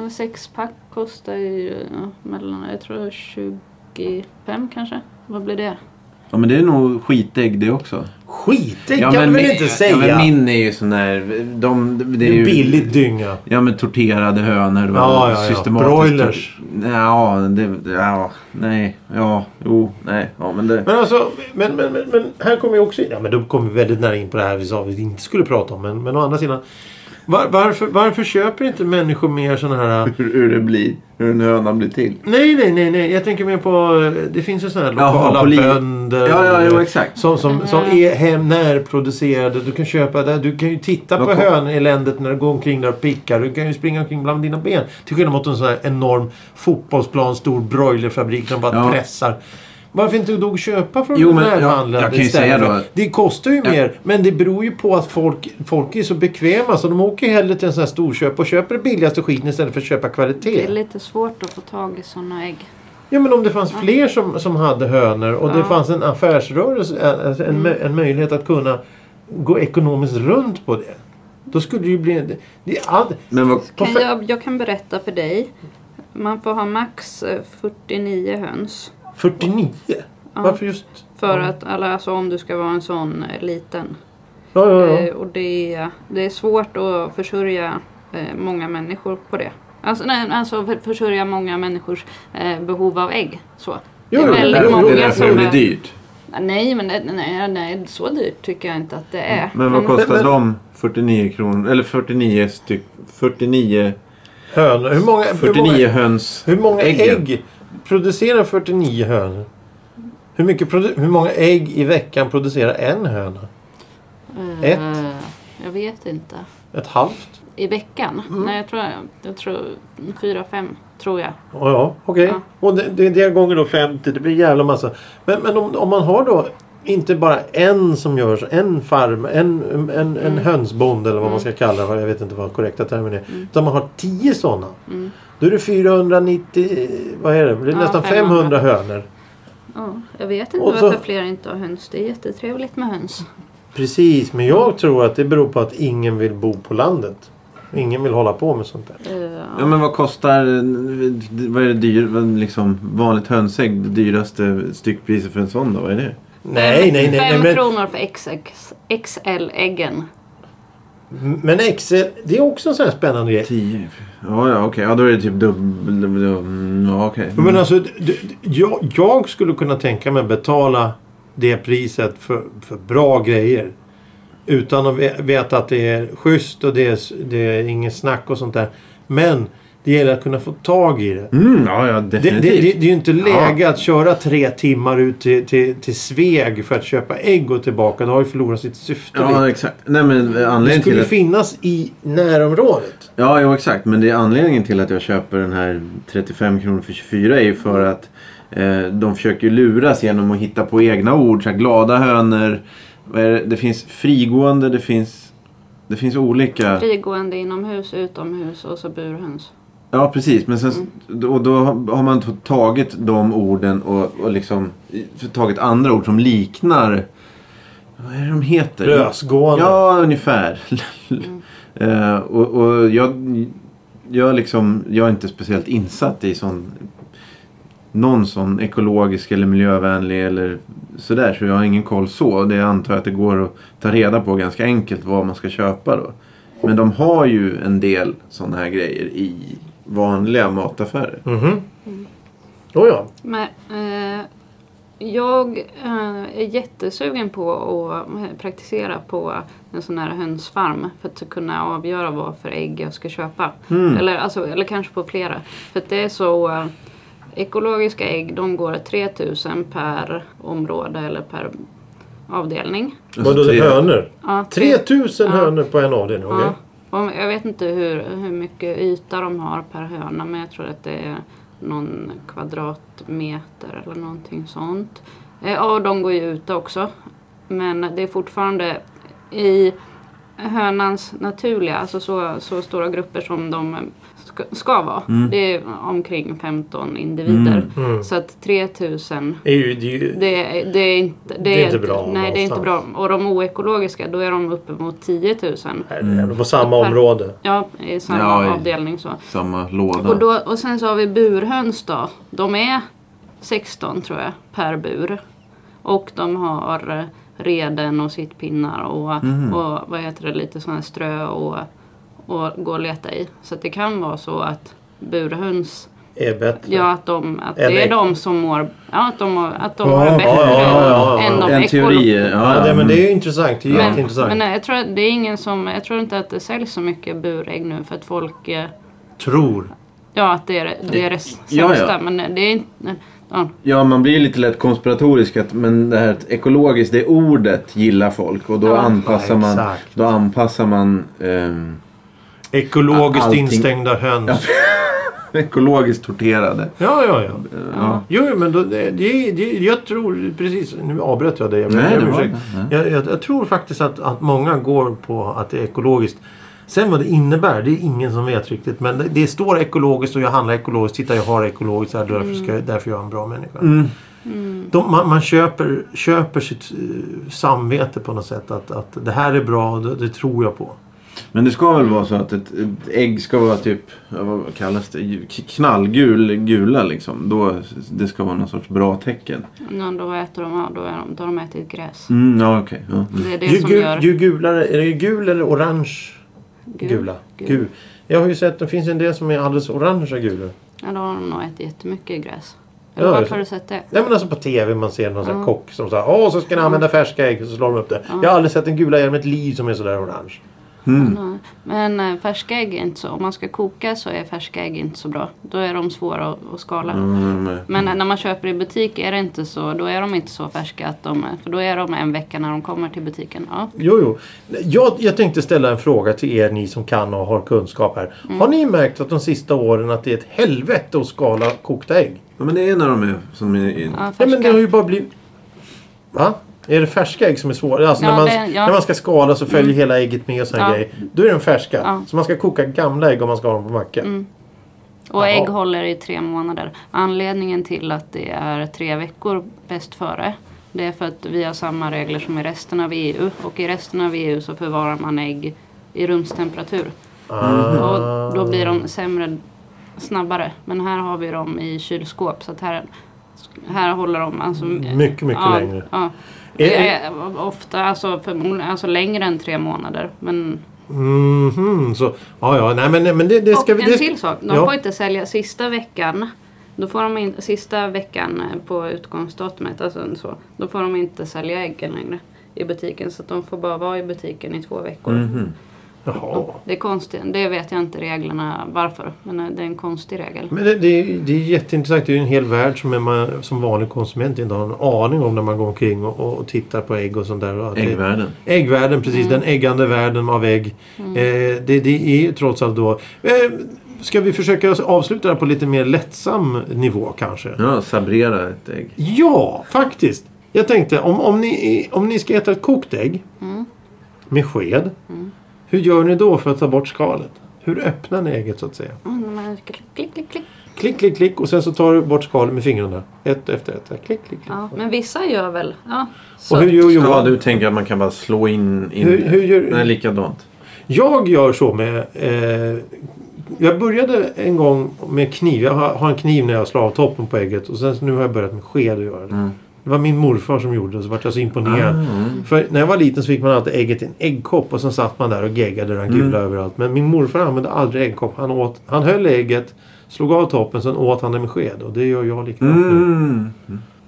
[SPEAKER 2] En Sexpack kostar ju ja, mellan, jag tror 25 kanske. Vad blir det?
[SPEAKER 1] Ja, men det är nog skitägg det också.
[SPEAKER 3] Skitägg kan du väl inte
[SPEAKER 1] Ja,
[SPEAKER 3] säga?
[SPEAKER 1] men min är ju sån där... De, det är ju...
[SPEAKER 3] Billig dynga.
[SPEAKER 1] Ja men torterade hönor. va?
[SPEAKER 3] Ja, ja, ja.
[SPEAKER 1] Systematiskt.
[SPEAKER 3] Broilers.
[SPEAKER 1] Ja, det, ja, nej, ja, jo, nej, ja men det...
[SPEAKER 3] Men alltså, men, men, men, men här kommer ju också in. Ja, men då kommer vi väldigt nära in på det här vi sa vi inte skulle prata om. Men, men å andra sidan. Var, varför, varför köper inte människor mer sådana här...
[SPEAKER 1] Hur, hur det blir, hur en höna blir till.
[SPEAKER 3] Nej, nej, nej, nej. Jag tänker mer på... eh, Det finns ju sådana här
[SPEAKER 1] Jaha,
[SPEAKER 3] lokala
[SPEAKER 1] poli-
[SPEAKER 3] bönder.
[SPEAKER 1] Ja, ja, jo, exakt.
[SPEAKER 3] Som, som, som är hem närproducerade. Du kan köpa där. Du kan ju titta på
[SPEAKER 1] Vad kom-
[SPEAKER 3] höneländet när du går omkring där och pickar. Du kan ju springa omkring bland dina ben. Till skillnad mot en sån här enorm fotbollsplan, stor broilerfabrik som bara
[SPEAKER 1] Ja.
[SPEAKER 3] pressar. Varför inte då köpa från
[SPEAKER 1] Jo,
[SPEAKER 3] den
[SPEAKER 1] men
[SPEAKER 3] här
[SPEAKER 1] jag-
[SPEAKER 3] handeln
[SPEAKER 1] jag kan ju
[SPEAKER 3] istället
[SPEAKER 1] säga
[SPEAKER 3] för-
[SPEAKER 1] då att-
[SPEAKER 3] Det kostar ju mer. Men det beror ju på att folk, folk är så bekväma så de åker hellre till en sån här storköp och köper det billigaste skiten istället för att köpa
[SPEAKER 2] Det är
[SPEAKER 3] kvalitet.
[SPEAKER 2] lite svårt att få tag i sådana ägg.
[SPEAKER 3] Ja men om det fanns fler som, som hade hönor och det
[SPEAKER 2] Ja. Mm.
[SPEAKER 3] fanns en affärsrörelse, ä- alltså en, mö- en möjlighet att kunna gå ekonomiskt runt på det. Då skulle det ju bli... Det, det är all,
[SPEAKER 1] Men vad...
[SPEAKER 3] På
[SPEAKER 2] Kan
[SPEAKER 3] fe-
[SPEAKER 2] jag, jag kan berätta för dig. Man får ha max eh, 49 höns.
[SPEAKER 3] 49? Varför just...
[SPEAKER 2] För
[SPEAKER 3] Ja.
[SPEAKER 2] att, eller alltså om du ska vara en sån eh, liten.
[SPEAKER 3] Ja, ja, ja.
[SPEAKER 2] Eh, och det är, det är svårt att försörja eh, många människor på det. Alltså, nej, alltså för- försörja många människors eh, behov av ägg. Så.
[SPEAKER 3] Jo,
[SPEAKER 2] det är
[SPEAKER 3] jo,
[SPEAKER 1] det är
[SPEAKER 2] väldigt
[SPEAKER 1] därför-
[SPEAKER 2] många
[SPEAKER 1] det är därför det
[SPEAKER 2] som...
[SPEAKER 1] blir
[SPEAKER 2] är-
[SPEAKER 1] dyrt.
[SPEAKER 2] Nej, men nej, nej, nej, så dyrt tycker jag inte att det är.
[SPEAKER 1] Men vad
[SPEAKER 3] Men-
[SPEAKER 1] kostar
[SPEAKER 3] men-
[SPEAKER 1] de 49 kronor? Eller 49 styck... 49...
[SPEAKER 2] Eh,
[SPEAKER 3] Hönor. Hur många, hur
[SPEAKER 1] 49
[SPEAKER 3] många,
[SPEAKER 1] höns...
[SPEAKER 3] hur många
[SPEAKER 1] äggen.
[SPEAKER 3] ägg producerar 49 hönor? Hur, mycket produ- hur många ägg i veckan producerar en höna?
[SPEAKER 2] Eh,
[SPEAKER 3] Ett.
[SPEAKER 2] Jag vet inte.
[SPEAKER 3] Ett halvt?
[SPEAKER 2] I veckan?
[SPEAKER 3] Mm.
[SPEAKER 2] Nej, jag tror, jag tror fyra, fem tror jag.
[SPEAKER 3] Ja, ja okej.
[SPEAKER 2] Ja.
[SPEAKER 3] Och det, det, det gånger då 50, det blir jävla massa. Men, men om, om man har då inte bara en som gör så, en farm, en, en, en
[SPEAKER 2] Mm.
[SPEAKER 3] hönsbond eller vad man ska kalla det. Jag vet inte vad korrekta termen är.
[SPEAKER 2] Mm.
[SPEAKER 3] Utan man har 10 sådana. Då är det 490, vad är det? Det är
[SPEAKER 2] Ja,
[SPEAKER 3] nästan 500
[SPEAKER 2] 500
[SPEAKER 3] hönor.
[SPEAKER 2] Ja, jag vet inte
[SPEAKER 3] Och så-
[SPEAKER 2] varför fler inte har höns. Det är jättetrevligt med höns.
[SPEAKER 3] Precis, men
[SPEAKER 2] Mm.
[SPEAKER 3] jag tror att det beror på att ingen vill bo på landet. Ingen vill hålla på med sånt där.
[SPEAKER 2] Eh,
[SPEAKER 1] Ja men vad kostar... Vad är det dyr, vad liksom, vanligt hönsägg? Det dyraste styckpriset för en sån då? Vad är det?
[SPEAKER 3] Nej, nej, nej. nej
[SPEAKER 2] Fem
[SPEAKER 3] men,
[SPEAKER 2] kronor för XX, XL-äggen.
[SPEAKER 3] men Excel, det är också en sån här spännande grej.
[SPEAKER 1] 10? Ja, ja okej. Ja, då är det typ dubbel... dubbel- Ja, okej.
[SPEAKER 3] Mm. Men alltså, d- d- jag, jag skulle kunna tänka mig att betala det priset för, för bra grejer. Utan att ve- veta att det är schysst och det är, s- det är inget snack och sånt där. Men det gäller att kunna få tag i det.
[SPEAKER 1] Mm, ja, ja,
[SPEAKER 3] Det, det,
[SPEAKER 1] definitivt.
[SPEAKER 3] det, det är ju inte läge att köra tre timmar ut till, till, till Sveg för att köpa ägg och tillbaka. Det har ju förlorat sitt syfte.
[SPEAKER 1] Ja,
[SPEAKER 3] lite.
[SPEAKER 1] exakt. Nej, men
[SPEAKER 3] det
[SPEAKER 1] anledningen
[SPEAKER 3] skulle
[SPEAKER 1] till
[SPEAKER 3] ju
[SPEAKER 1] att...
[SPEAKER 3] finnas i närområdet.
[SPEAKER 1] Ja, jo, exakt. Men det är anledningen till att jag köper den här 35 kronor för 24 är ju för att eh, de försöker ju luras genom att hitta på egna ord. Så här, glada hönor. Vad är det? det finns frigående, det finns... Det finns olika...
[SPEAKER 2] Frigående inomhus, utomhus och så burhöns.
[SPEAKER 1] Ja, precis. Men sen, och då har man t- tagit de orden och, och liksom i- tagit andra ord som liknar... Vad är det de heter?
[SPEAKER 3] Lösgående.
[SPEAKER 1] Ja, ungefär. Eh, och och jag, jag, liksom, jag är inte speciellt insatt i sån, någon sån ekologisk eller miljövänlig eller sådär. Så jag har ingen koll så. Det antar jag att det går att ta reda på ganska enkelt vad man ska köpa då. Men de har ju en del sådana här grejer i vanliga mataffärer.
[SPEAKER 3] Mhm. Oh, ja.
[SPEAKER 2] Men, eh, jag eh, är jättesugen på att eh, praktisera på en sån här hönsfarm för att kunna avgöra vad för ägg jag ska köpa.
[SPEAKER 1] Mm.
[SPEAKER 2] Eller, alltså, eller kanske på flera. För att det är så eh, ekologiska ägg de går 3000 per område eller per avdelning.
[SPEAKER 1] Alltså,
[SPEAKER 3] Vadå
[SPEAKER 1] tre-
[SPEAKER 3] hönor?
[SPEAKER 2] Ja,
[SPEAKER 3] 3000
[SPEAKER 2] Ja.
[SPEAKER 3] hönor på en avdelning? okej.
[SPEAKER 2] Ja. Om- Jag vet inte hur, hur mycket yta de har per höna men jag tror att det är någon kvadratmeter eller någonting sånt. Eh, Ja, och de går ju ute också. Men det är fortfarande i hönans naturliga, alltså så, så stora grupper som de ska, ska vara.
[SPEAKER 1] Mm.
[SPEAKER 2] Det är omkring 15 individer.
[SPEAKER 3] Mm.
[SPEAKER 2] Så att 3000
[SPEAKER 3] Det är ju, det är ju,
[SPEAKER 2] det, det, är inte, det,
[SPEAKER 3] Det är inte bra
[SPEAKER 2] Nej, det är inte bra.
[SPEAKER 3] någonstans.
[SPEAKER 2] Och de oekologiska, då är de uppemot 10 000.
[SPEAKER 3] Nej, det
[SPEAKER 2] Mm.
[SPEAKER 3] är på samma område.
[SPEAKER 2] Ja, i samma
[SPEAKER 1] Ja, i-
[SPEAKER 2] avdelning så.
[SPEAKER 1] Samma låda.
[SPEAKER 2] Och, då, och sen så har vi burhöns då. De är 16 tror jag per bur. Och de har eh, reden och sittpinnar och,
[SPEAKER 1] Mhm.
[SPEAKER 2] och vad heter det, lite sådana strö och, och gå och leta i. Så att det kan vara så att burhöns,
[SPEAKER 3] Är bättre.
[SPEAKER 2] ja att, de, att det
[SPEAKER 3] Eller-
[SPEAKER 2] är de som mår, ja att de, mår- att de
[SPEAKER 3] Ja,
[SPEAKER 2] har
[SPEAKER 3] ja,
[SPEAKER 2] det bättre
[SPEAKER 3] ja, ja, ja,
[SPEAKER 2] än de
[SPEAKER 1] en
[SPEAKER 2] ekolo-
[SPEAKER 1] teori. Ja,
[SPEAKER 3] Ja, det, men
[SPEAKER 1] mm.
[SPEAKER 3] det är ju intressant. Det är
[SPEAKER 1] Men-
[SPEAKER 3] jätteintressant.
[SPEAKER 2] Men eh, jag tror, att det är ingen som, jag tror inte att det säljs så mycket burägg nu för att folk eh,
[SPEAKER 3] Tror.
[SPEAKER 2] Ja, att det är det, är det sämsta.
[SPEAKER 1] Ja, ja.
[SPEAKER 2] Men det är inte... Ja,
[SPEAKER 1] Ja, man blir lite lätt konspiratorisk. Att, men det här att ekologiskt, det ordet gillar folk. Och då
[SPEAKER 2] Ja.
[SPEAKER 1] anpassar
[SPEAKER 3] Ja,
[SPEAKER 1] man...
[SPEAKER 3] exakt.
[SPEAKER 1] Då anpassar man... ehm,
[SPEAKER 3] Ekologiskt
[SPEAKER 1] Allting-
[SPEAKER 3] instängda höns.
[SPEAKER 1] ekologiskt torterade.
[SPEAKER 3] Ja, ja, ja.
[SPEAKER 1] Ja.
[SPEAKER 3] Jo, men då, det, det, det, jag tror precis... Nu avbröt jag dig. Jag, ber-
[SPEAKER 1] Nej,
[SPEAKER 3] jag,
[SPEAKER 1] det
[SPEAKER 3] ber
[SPEAKER 1] var-
[SPEAKER 3] ursäkt. jag, jag, jag tror faktiskt att, att många går på att det är ekologiskt. Sen vad det innebär, det är ingen som vet riktigt. Men det, det står ekologiskt och jag handlar ekologiskt. Titta, jag har ekologiskt. Här, därför, ska,
[SPEAKER 2] Mm.
[SPEAKER 3] jag- därför är jag en bra människa. De, man man köper, köper sitt eh, samvete på något sätt. Att, att det här är bra, det, det tror jag på.
[SPEAKER 1] Men det ska väl vara så att ett, ett ägg ska vara typ, ja, vad kallas det, Ju- k- knallgul, gula liksom. Då, det ska vara någon sorts bra tecken.
[SPEAKER 2] när då äter de av, då, är de, då har de ätit gräs.
[SPEAKER 1] Mm, ja okej. ja. Mm.
[SPEAKER 2] Det är det
[SPEAKER 3] Ju,
[SPEAKER 2] som
[SPEAKER 3] gul,
[SPEAKER 2] gör...
[SPEAKER 3] ju gulare, är det gul eller orange?
[SPEAKER 2] gul.
[SPEAKER 3] Gula.
[SPEAKER 2] Gul.
[SPEAKER 3] Gul. Jag har ju sett, det finns en del som är alldeles orangea gula.
[SPEAKER 2] Ja, då har de nog ätit jättemycket gräs.
[SPEAKER 3] Ja,
[SPEAKER 2] Eller
[SPEAKER 3] det är
[SPEAKER 2] vart
[SPEAKER 3] så.
[SPEAKER 2] har du sett det?
[SPEAKER 3] Nej men alltså på TV man ser någon sån här
[SPEAKER 2] Ja.
[SPEAKER 3] kock som säger åh så ska ni använda
[SPEAKER 2] Mm.
[SPEAKER 3] färska ägg och så slår de upp det. Jag har aldrig sett en gula i mitt liv som är sådär orange. Mm.
[SPEAKER 2] Nej. Men eh, färska ägg är inte så. Om man ska koka så är färska ägg inte så bra. Då är de svåra att, att skala.
[SPEAKER 1] Mm, mm.
[SPEAKER 2] Men eh, när man köper i butik är det inte så. Då är de inte så färska att de... För då är de en vecka när de kommer till butiken. Ja.
[SPEAKER 3] Jo jo. Jag, jag tänkte ställa en fråga till er ni som kan och har kunskap här.
[SPEAKER 2] Mm.
[SPEAKER 3] Har ni märkt att de sista åren att det är ett helvete att skala kokta ägg?
[SPEAKER 1] Ja, men det är när de är som är... i-
[SPEAKER 2] ja
[SPEAKER 3] Nej men det
[SPEAKER 2] färska.
[SPEAKER 3] har ju bara blivit... Va? Är det färska ägg som är svåra? Alltså
[SPEAKER 2] Ja,
[SPEAKER 3] när, man,
[SPEAKER 2] det- ja. Mm.
[SPEAKER 3] när man ska skala så följer hela ägget med och sådana
[SPEAKER 2] Ja.
[SPEAKER 3] grejer. Då är den färska.
[SPEAKER 2] Ja. Mm.
[SPEAKER 3] Så man ska koka gamla ägg om man ska ha dem på macka.
[SPEAKER 2] Och ägg
[SPEAKER 3] Jaha.
[SPEAKER 2] håller i tre månader. Anledningen till att det är tre veckor bäst före det är för att vi har samma regler som i resten av EU. Och i resten av EU så förvarar man ägg i rumstemperatur.
[SPEAKER 3] Ah.
[SPEAKER 2] Och då blir de sämre snabbare. Men här har vi dem i kylskåp. Så att här, här håller de... Alltså,
[SPEAKER 3] Mycket, mycket
[SPEAKER 2] ja,
[SPEAKER 3] längre.
[SPEAKER 2] Ja.
[SPEAKER 3] Är-
[SPEAKER 2] Det är ofta alltså, förmodligen, alltså längre än tre månader. Men
[SPEAKER 3] Mhm, så, ja, ja, nej men, nej, men det, det ska
[SPEAKER 2] och
[SPEAKER 3] vi...
[SPEAKER 2] en
[SPEAKER 3] Det,
[SPEAKER 2] till sak. De
[SPEAKER 3] ja.
[SPEAKER 2] får inte sälja sista veckan. Då får de in, sista veckan eh, på utgångsdatumet, alltså så, då får de inte sälja äggen längre i butiken. Så att de får bara vara i butiken i två veckor.
[SPEAKER 1] Mhm.
[SPEAKER 3] Jaha.
[SPEAKER 2] Det är konstigt. Det vet jag inte reglerna varför. Men eh, det är en konstig regel.
[SPEAKER 3] Men det, det, är- det är jätteintressant. Det är ju en hel värld som är man som vanlig konsument inte har en aning om när man går omkring och, och tittar på ägg och sånt där. Och att det-
[SPEAKER 1] Äggvärlden.
[SPEAKER 3] Äggvärlden, precis. Den äggande världen av ägg. Eh, det, det är ju trots allt då... Eh, ska vi försöka avsluta det här på lite mer lättsam nivå kanske?
[SPEAKER 1] Ja, sabrera ett ägg.
[SPEAKER 3] Ja, faktiskt. Jag tänkte om, om, ni, om ni ska äta ett kokt ägg med sked. Hur gör ni då för att ta bort skalet? Hur öppnar ni ägget så att säga?
[SPEAKER 2] Mm, men klick, klick, klick, klick.
[SPEAKER 3] Klick, klick, klick och sen så tar du bort skalet med fingrarna. Ett efter ett. Klick, klick, klick.
[SPEAKER 2] Ja, men vissa gör väl. Ja, så.
[SPEAKER 3] Och hur gör
[SPEAKER 1] Ja,
[SPEAKER 3] Johan?
[SPEAKER 1] du tänker att man kan bara slå in... in
[SPEAKER 3] Hur- hur gör-
[SPEAKER 1] Nej, likadant.
[SPEAKER 3] Jag gör så med... Eh, jag började en gång med kniv. Jag har, har en kniv när jag slår av toppen på ägget och sen så nu har jag börjat med sked att göra det. Det var min morfar som gjorde det så vart jag så imponerad.
[SPEAKER 1] Mm.
[SPEAKER 3] För när jag var liten så fick man alltid ägget i en äggkopp och sen satt man där och geggade och rann
[SPEAKER 1] Mm.
[SPEAKER 3] gula överallt. Men min morfar använde aldrig äggkopp. Han, åt, han höll ägget, slog av toppen, sen åt han det med sked. Och det gör jag likadant nu.
[SPEAKER 1] Mm.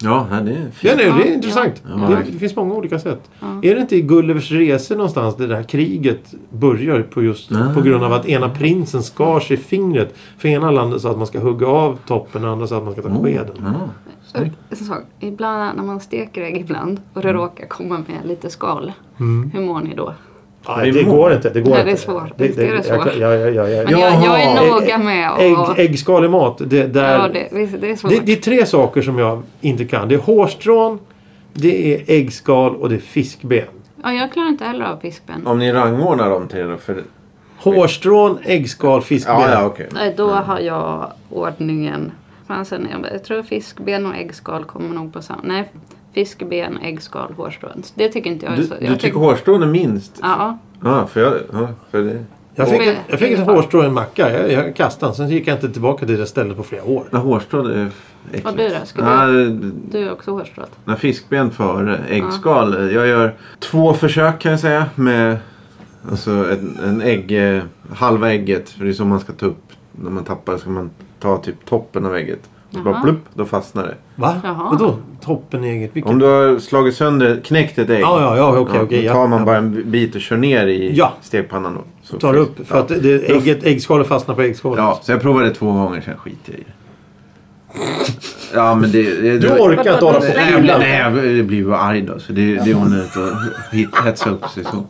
[SPEAKER 1] Ja, här, det är
[SPEAKER 3] Ja,
[SPEAKER 1] fint.
[SPEAKER 3] nej, det
[SPEAKER 2] Ja,
[SPEAKER 3] är intressant.
[SPEAKER 1] ja. Ja,
[SPEAKER 3] Det, det
[SPEAKER 1] verkligen.
[SPEAKER 3] finns många olika sätt.
[SPEAKER 2] Ja.
[SPEAKER 3] Är det inte i Gullivers resor någonstans det där kriget börjar på just
[SPEAKER 1] Ah.
[SPEAKER 3] på grund av att ena prinsen skar sig i fingret. För ena landet sa att man ska hugga av toppen och andra sa att man ska
[SPEAKER 2] Mm.
[SPEAKER 3] ta skeden.
[SPEAKER 1] Ja.
[SPEAKER 2] Så, så, ibland när man steker ägg ibland och det råkar komma med lite skal.
[SPEAKER 3] Mm.
[SPEAKER 2] Hur mår ni då?
[SPEAKER 3] Nej, det går inte. Det går
[SPEAKER 2] Nej,
[SPEAKER 3] inte.
[SPEAKER 2] det är svårt. Visst är det
[SPEAKER 3] jag-
[SPEAKER 2] svårt.
[SPEAKER 3] jag- jag- jag- jag-
[SPEAKER 2] Men jag, jag
[SPEAKER 1] Jaha.
[SPEAKER 2] är noga med att...
[SPEAKER 3] Ägg, äggskal i mat. Det, där,
[SPEAKER 2] ja, det, visst, det är svårt.
[SPEAKER 3] det, det är tre saker som jag inte kan. Det är hårstrån, det är äggskal och det är fiskben.
[SPEAKER 2] Ja, jag klarar inte heller av fiskben.
[SPEAKER 1] Om ni rangordnar dem till då? För...
[SPEAKER 3] Hårstrån, äggskal, fiskben.
[SPEAKER 1] Ja, ja, okej.
[SPEAKER 2] Nej, då har jag ordningen. Fan, sen jag, jag tror fiskben och äggskal kommer nog på samma. Nej, fiskben, äggskal, hårstrån. Det tycker inte jag är
[SPEAKER 1] Du,
[SPEAKER 2] så. Jag
[SPEAKER 1] du tycker hårstrån är minst?
[SPEAKER 2] Ja,
[SPEAKER 1] Ja, för jag... Ja, för det...
[SPEAKER 3] Jag fick,
[SPEAKER 2] Men-
[SPEAKER 3] ett- jag fick ett hårstrå i en macka. Jag, jag kastade den. Sen gick jag inte tillbaka till det stället på flera år.
[SPEAKER 1] Ja, hårstrån är äckligt.
[SPEAKER 2] Och du då? Ska du-
[SPEAKER 1] Nej,
[SPEAKER 2] du är också hårstrået.
[SPEAKER 1] Nej, fiskben före äggskal. Jag gör två försök kan jag säga med alltså en, en ägg, eh, halva ägget. För det är så man ska ta upp. När man tappar ska man ta typ toppen av ägget. Och så bara
[SPEAKER 2] Jaha.
[SPEAKER 1] plupp, då fastnar det.
[SPEAKER 3] Va?
[SPEAKER 2] Jaha.
[SPEAKER 3] Vadå? Toppen i ägget? Vilket?
[SPEAKER 1] Om du har slagit sönder, knäckt ett ägg.
[SPEAKER 3] Ja, ja, ja. Okej, okej.
[SPEAKER 1] då
[SPEAKER 3] ja.
[SPEAKER 1] tar man
[SPEAKER 3] Ja.
[SPEAKER 1] bara en bit och kör ner i
[SPEAKER 3] Ja.
[SPEAKER 1] stekpannan. Då, så
[SPEAKER 3] Tar
[SPEAKER 1] finns-
[SPEAKER 3] upp. För att det- det, ägget, äggskalet fastnar på äggskalet.
[SPEAKER 1] Ja, så jag provade två gånger sen skiter jag i det. Ja, men det... det
[SPEAKER 3] Du
[SPEAKER 1] det-
[SPEAKER 3] orkar inte hålla på
[SPEAKER 1] Nej,
[SPEAKER 3] och
[SPEAKER 1] jag blir,
[SPEAKER 3] pula.
[SPEAKER 1] nej, jag blir bara arg då. Så det, det är onödigt att hit- hetsa upp sig så.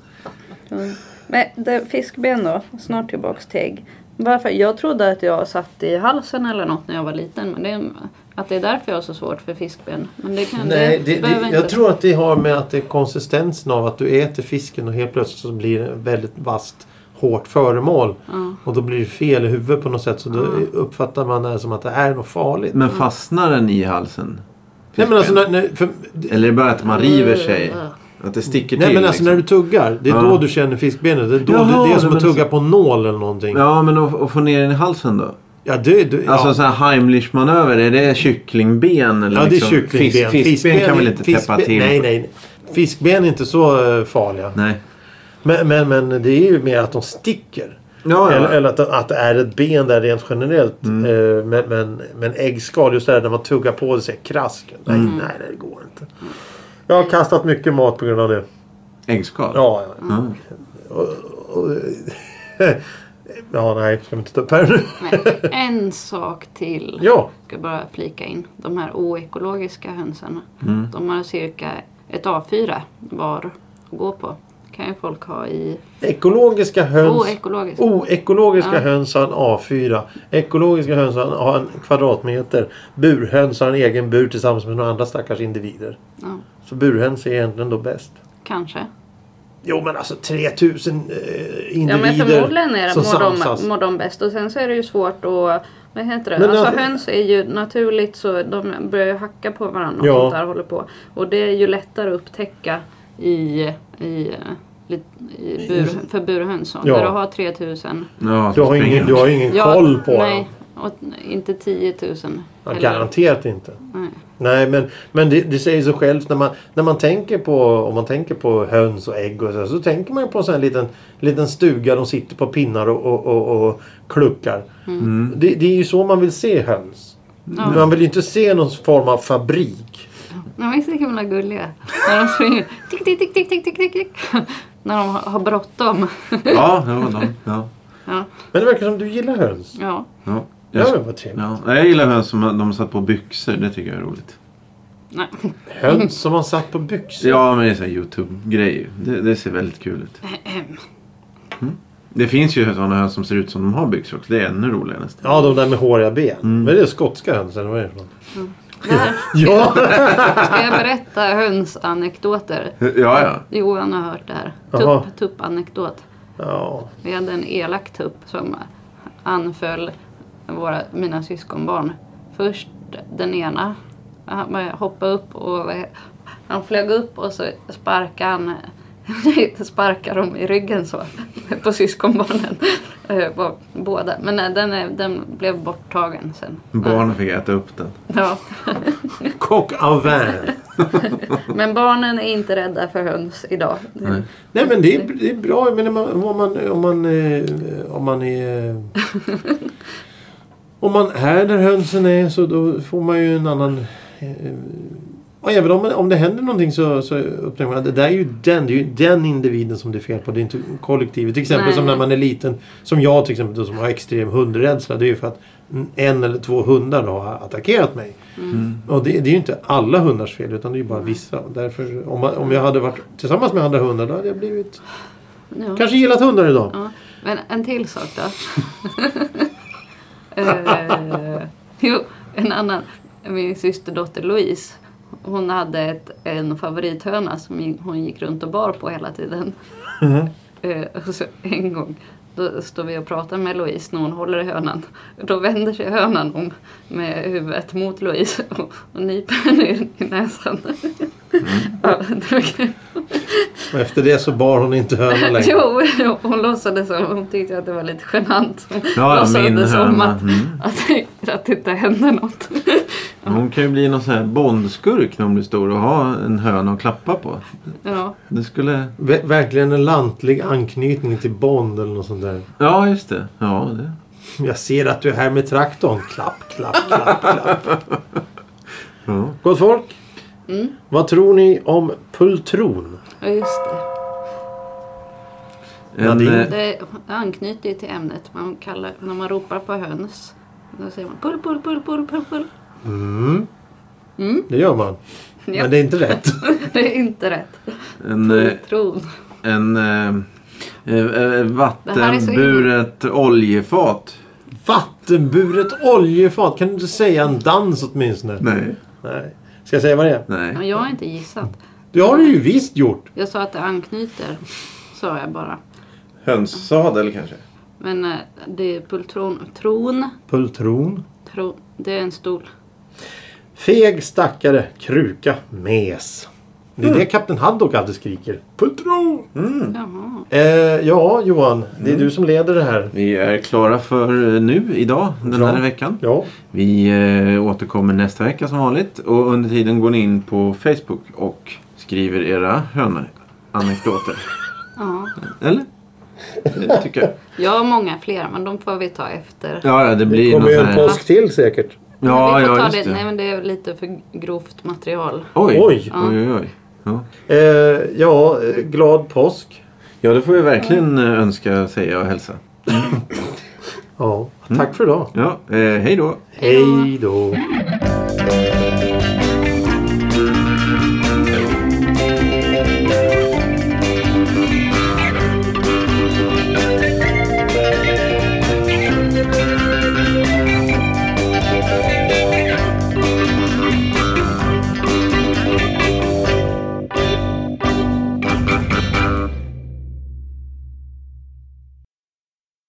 [SPEAKER 2] Men det, fiskben då, snart tillbaks till ägg. Varför? Jag trodde att jag satt i halsen eller något när jag var liten. Men det, att det är därför jag har så svårt för fiskben. Men det kan
[SPEAKER 3] Nej, det,
[SPEAKER 2] behöver
[SPEAKER 3] det, jag tror att det har med att det är konsistensen av att du äter fisken och helt plötsligt så blir det ett väldigt vasst hårt föremål.
[SPEAKER 2] Ja.
[SPEAKER 3] Och då blir det fel i huvudet på något sätt så då uppfattar man det som att det här är något farligt.
[SPEAKER 1] Men fastnar den i halsen?
[SPEAKER 3] Nej men alltså, när, när, för,
[SPEAKER 1] Eller är det bara att man river sig? Att det sticker till?
[SPEAKER 3] Mm. nej, men alltså
[SPEAKER 1] liksom?
[SPEAKER 3] när du tuggar, det är
[SPEAKER 1] Ja.
[SPEAKER 3] då du känner fiskbenet. Det är, då,
[SPEAKER 1] Jaha,
[SPEAKER 3] det är som
[SPEAKER 1] men
[SPEAKER 3] att tugga
[SPEAKER 1] alltså-
[SPEAKER 3] på en nål eller någonting. Ja,
[SPEAKER 1] Ja, men att att få ner den i halsen då?
[SPEAKER 3] det, det, ja.
[SPEAKER 1] Alltså en sån här Heimlich-manöver, är det kycklingben? Eller
[SPEAKER 3] ja, det är
[SPEAKER 1] liksom
[SPEAKER 3] kycklingben.
[SPEAKER 1] Fisk, fiskben, kan väl inte täppa
[SPEAKER 3] fiskben-
[SPEAKER 1] till?
[SPEAKER 3] Nej, nej. Fiskben är inte så eh, farliga.
[SPEAKER 1] nej.
[SPEAKER 3] Men, men, men det är ju mer att de sticker.
[SPEAKER 1] Ja, Mm. ja.
[SPEAKER 3] Eller, eller att, att det är ett ben där rent generellt. Eh, Men, men, men äggskal, just det där när man tuggar på det så är det krask. Nej,
[SPEAKER 1] Mm.
[SPEAKER 3] nej, det går inte. Jag har kastat mycket mat på grund av det.
[SPEAKER 1] Äggskal?
[SPEAKER 3] Ja, ja.
[SPEAKER 2] Mm.
[SPEAKER 3] Mm.
[SPEAKER 1] Ja.
[SPEAKER 3] ja nej, ska vi inte ta upp här nu?
[SPEAKER 2] Nej, en sak till.
[SPEAKER 3] Ja,
[SPEAKER 2] ska bara flika in. De här oekologiska hönsen.
[SPEAKER 3] Mm.
[SPEAKER 2] De har cirka ett A4 var att gå på. kan ju folk ha i
[SPEAKER 3] ekologiska höns. Oh,
[SPEAKER 2] oekologiskt.
[SPEAKER 3] Oekologiska
[SPEAKER 2] Oh, Ja.
[SPEAKER 3] höns har en A4. Ekologiska höns har en kvadratmeter. Burhöns har en egen bur tillsammans med några andra stackars individer.
[SPEAKER 2] Ja,
[SPEAKER 3] Så burhöns är egentligen då bäst.
[SPEAKER 2] kanske.
[SPEAKER 3] Jo men alltså 3000 eh,
[SPEAKER 2] Ja,
[SPEAKER 3] individer
[SPEAKER 2] men förmodligen är det,
[SPEAKER 3] som
[SPEAKER 2] mår,
[SPEAKER 3] samsas.
[SPEAKER 2] de, mår de bäst. Och sen så är det ju svårt att... Vad heter det?
[SPEAKER 3] Men
[SPEAKER 2] alltså
[SPEAKER 3] alltså-
[SPEAKER 2] höns är ju naturligt så de börjar ju hacka på varandra och
[SPEAKER 3] Ja.
[SPEAKER 2] sånt där håller på. Och det är ju lättare att upptäcka i, i, eh, lit- i bur, för burhöns.
[SPEAKER 3] Ja.
[SPEAKER 2] När du har 3000
[SPEAKER 1] ja
[SPEAKER 3] Du har
[SPEAKER 1] springer
[SPEAKER 3] ingen, du har ingen koll på
[SPEAKER 2] nej,
[SPEAKER 3] dem.
[SPEAKER 2] och inte 10 000.
[SPEAKER 3] Ja,
[SPEAKER 2] heller.
[SPEAKER 3] garanterat inte.
[SPEAKER 2] Nej.
[SPEAKER 3] Nej men, men det, det säger sig självt när man, när man tänker på om man tänker på höns och ägg och så, så tänker man ju på en sån här liten, liten stuga de sitter på pinnar och, och, och, och kluckar. Det, det är ju så man vill se höns.
[SPEAKER 2] Ja.
[SPEAKER 3] Man vill ju inte se någon form av fabrik.
[SPEAKER 2] De är så himla gulliga. När de springer. Tick, tick, tick, tick, tick, tick, tick, tick. När de har- har bråttom.
[SPEAKER 1] Ja, det var de. Ja.
[SPEAKER 2] Ja.
[SPEAKER 3] Men det verkar som du gillar höns.
[SPEAKER 2] ja.
[SPEAKER 1] Ja.
[SPEAKER 3] Ja,
[SPEAKER 1] Jag,
[SPEAKER 3] men vad trevligt.
[SPEAKER 1] ja. Nej, jag gillar höns som de satt på byxor. Det tycker jag är roligt.
[SPEAKER 2] Nej.
[SPEAKER 3] Höns som man satt på byxor.
[SPEAKER 1] Ja, men det är sån här YouTube-grej. Det, det ser väldigt kul ut. Mm. Det finns ju sådana höns som ser ut som de har byxor också. Det är ännu roligare nästan.
[SPEAKER 3] Ja, de där med håriga ben. Men det är skotska höns eller vad är det för något?
[SPEAKER 2] Det här
[SPEAKER 3] Ja!
[SPEAKER 2] ska jag berätta hönsanekdoter.
[SPEAKER 1] Ja, ja.
[SPEAKER 2] Johan har hört det här.
[SPEAKER 3] Jaha.
[SPEAKER 2] Tupp, tuppanekdot.
[SPEAKER 3] ja.
[SPEAKER 2] Vi hade en elak tupp som anföll våra, mina syskonbarn. Först den ena. Han började hoppa upp och han flög upp och så sparkade han sparkade dem i ryggen så på syskonbarnen. Eh, på Båda. Men eh, den, är- den blev borttagen sen.
[SPEAKER 1] Barnen fick äta upp den.
[SPEAKER 2] Ja.
[SPEAKER 3] Coq avant.
[SPEAKER 2] Men barnen är inte rädda för höns idag. Det-
[SPEAKER 1] Nej.
[SPEAKER 3] Nej men det är, det är bra. Men om man, om man, om man, eh, om man är... Om man är där hönsen är så då får man ju en annan... eh, Och även om, om det händer någonting så, så upptäcker man att det där är ju den, det är ju den individen som det är fel på. Det är inte kollektivet. Till exempel
[SPEAKER 2] Nej.
[SPEAKER 3] som när man är liten. Som jag till exempel då, som har extrem hundrädsla. Det är ju för att en eller två hundar då har attackerat mig.
[SPEAKER 2] Mm.
[SPEAKER 3] Och det, det är ju inte alla hundars fel utan det är ju bara vissa. Därför, om, man, om jag hade varit tillsammans med andra hundar då hade jag blivit...
[SPEAKER 2] Ja.
[SPEAKER 3] Kanske gillat hundar idag.
[SPEAKER 2] Ja. Men en till sak då. Eh, jo, en annan. Min systerdotter Louise. Hon hade ett, en favorithöna som gick- hon gick runt och bar på hela tiden. Eh, och så en gång då står vi och pratar med Louise när hon håller i hönan. Då vänder sig hönan om med huvudet mot Louise och, och nyper henne i, i näsan. ja, det var kul.
[SPEAKER 3] Och efter det så bar hon inte hönan längre.
[SPEAKER 2] Jo, jo, hon låtsades som hon tyckte att det var lite genant. Hon
[SPEAKER 1] Ja,
[SPEAKER 2] låtsades
[SPEAKER 1] min
[SPEAKER 2] som
[SPEAKER 1] höna.
[SPEAKER 2] att,
[SPEAKER 1] Mm.
[SPEAKER 2] att, att det inte hände något.
[SPEAKER 1] Hon kan ju bli någon sån här bondskurk när hon blir stor och ha en höna att klappa på.
[SPEAKER 2] Ja,
[SPEAKER 1] Det skulle...
[SPEAKER 3] Ver- verkligen en lantlig anknytning till Bond eller något sånt där.
[SPEAKER 1] Ja, just det. Ja, det.
[SPEAKER 3] Jag ser att du är här med traktorn. Klapp, klapp, klapp, klapp.
[SPEAKER 1] Ja.
[SPEAKER 3] Gott folk.
[SPEAKER 2] Mm.
[SPEAKER 3] Vad tror ni om pultron?
[SPEAKER 2] ja, just det.
[SPEAKER 1] En,
[SPEAKER 3] Nadine?
[SPEAKER 1] eh,
[SPEAKER 2] Det anknyter ju till ämnet. Man kallar, när man ropar på höns, då säger man pull, pull, pull, pull, pull, pull.
[SPEAKER 3] Mm.
[SPEAKER 2] Mm.
[SPEAKER 3] Det gör man.
[SPEAKER 2] Ja,
[SPEAKER 3] Men
[SPEAKER 2] det...
[SPEAKER 3] det är inte rätt.
[SPEAKER 2] är inte rätt.
[SPEAKER 1] en, eh,
[SPEAKER 2] Tron.
[SPEAKER 1] en, eh, eh, eh, vattenburet oljefat.
[SPEAKER 3] Vattenburet oljefat. Kan du inte säga en dans åtminstone?
[SPEAKER 1] Nej.
[SPEAKER 3] Nej. Ska jag säga vad det är?
[SPEAKER 1] Nej.
[SPEAKER 2] Men jag har inte gissat.
[SPEAKER 3] Det har du ju visst gjort.
[SPEAKER 2] Jag sa att det anknyter, sa jag bara.
[SPEAKER 1] Hönssadel kanske?
[SPEAKER 2] Men eh, det är pultron. Tron.
[SPEAKER 3] Pultron.
[SPEAKER 2] Tro, det är en stol.
[SPEAKER 3] Feg stackare, kruka, mes. Det är det
[SPEAKER 2] Mm.
[SPEAKER 3] Kapten Haddock alltid skriker. Pultron!
[SPEAKER 1] Mm.
[SPEAKER 2] Jaha.
[SPEAKER 3] Eh, ja, Johan. Det är du som leder det här.
[SPEAKER 1] Vi är klara för eh, nu, idag, den
[SPEAKER 3] Ja.
[SPEAKER 1] här veckan.
[SPEAKER 3] Ja.
[SPEAKER 1] Vi eh, återkommer nästa vecka som vanligt. Och under tiden går ni in på Facebook och skriver era höneanekdoter.
[SPEAKER 2] Ja.
[SPEAKER 1] Eller? Det tycker jag.
[SPEAKER 2] Jag har många fler, men de får vi ta efter.
[SPEAKER 1] Ja, ja det
[SPEAKER 3] Det
[SPEAKER 1] blir
[SPEAKER 3] kommer
[SPEAKER 1] någon
[SPEAKER 3] ju
[SPEAKER 1] sån
[SPEAKER 3] en
[SPEAKER 1] här...
[SPEAKER 3] påsk till säkert.
[SPEAKER 1] Ja,
[SPEAKER 2] vi får
[SPEAKER 1] ja,
[SPEAKER 2] ta
[SPEAKER 1] just
[SPEAKER 2] det. Nej,
[SPEAKER 1] det.
[SPEAKER 2] men det är lite för grovt material.
[SPEAKER 1] Oj,
[SPEAKER 3] Oj.
[SPEAKER 1] oj, oj. oj. Ja.
[SPEAKER 3] Eh, ja, eh, glad påsk.
[SPEAKER 1] ja, det får vi verkligen eh, önska, säga och hälsa. Mm.
[SPEAKER 3] Ja, tack för idag.
[SPEAKER 1] Ja, eh, hej då.
[SPEAKER 2] Hej då.
[SPEAKER 3] Hej då.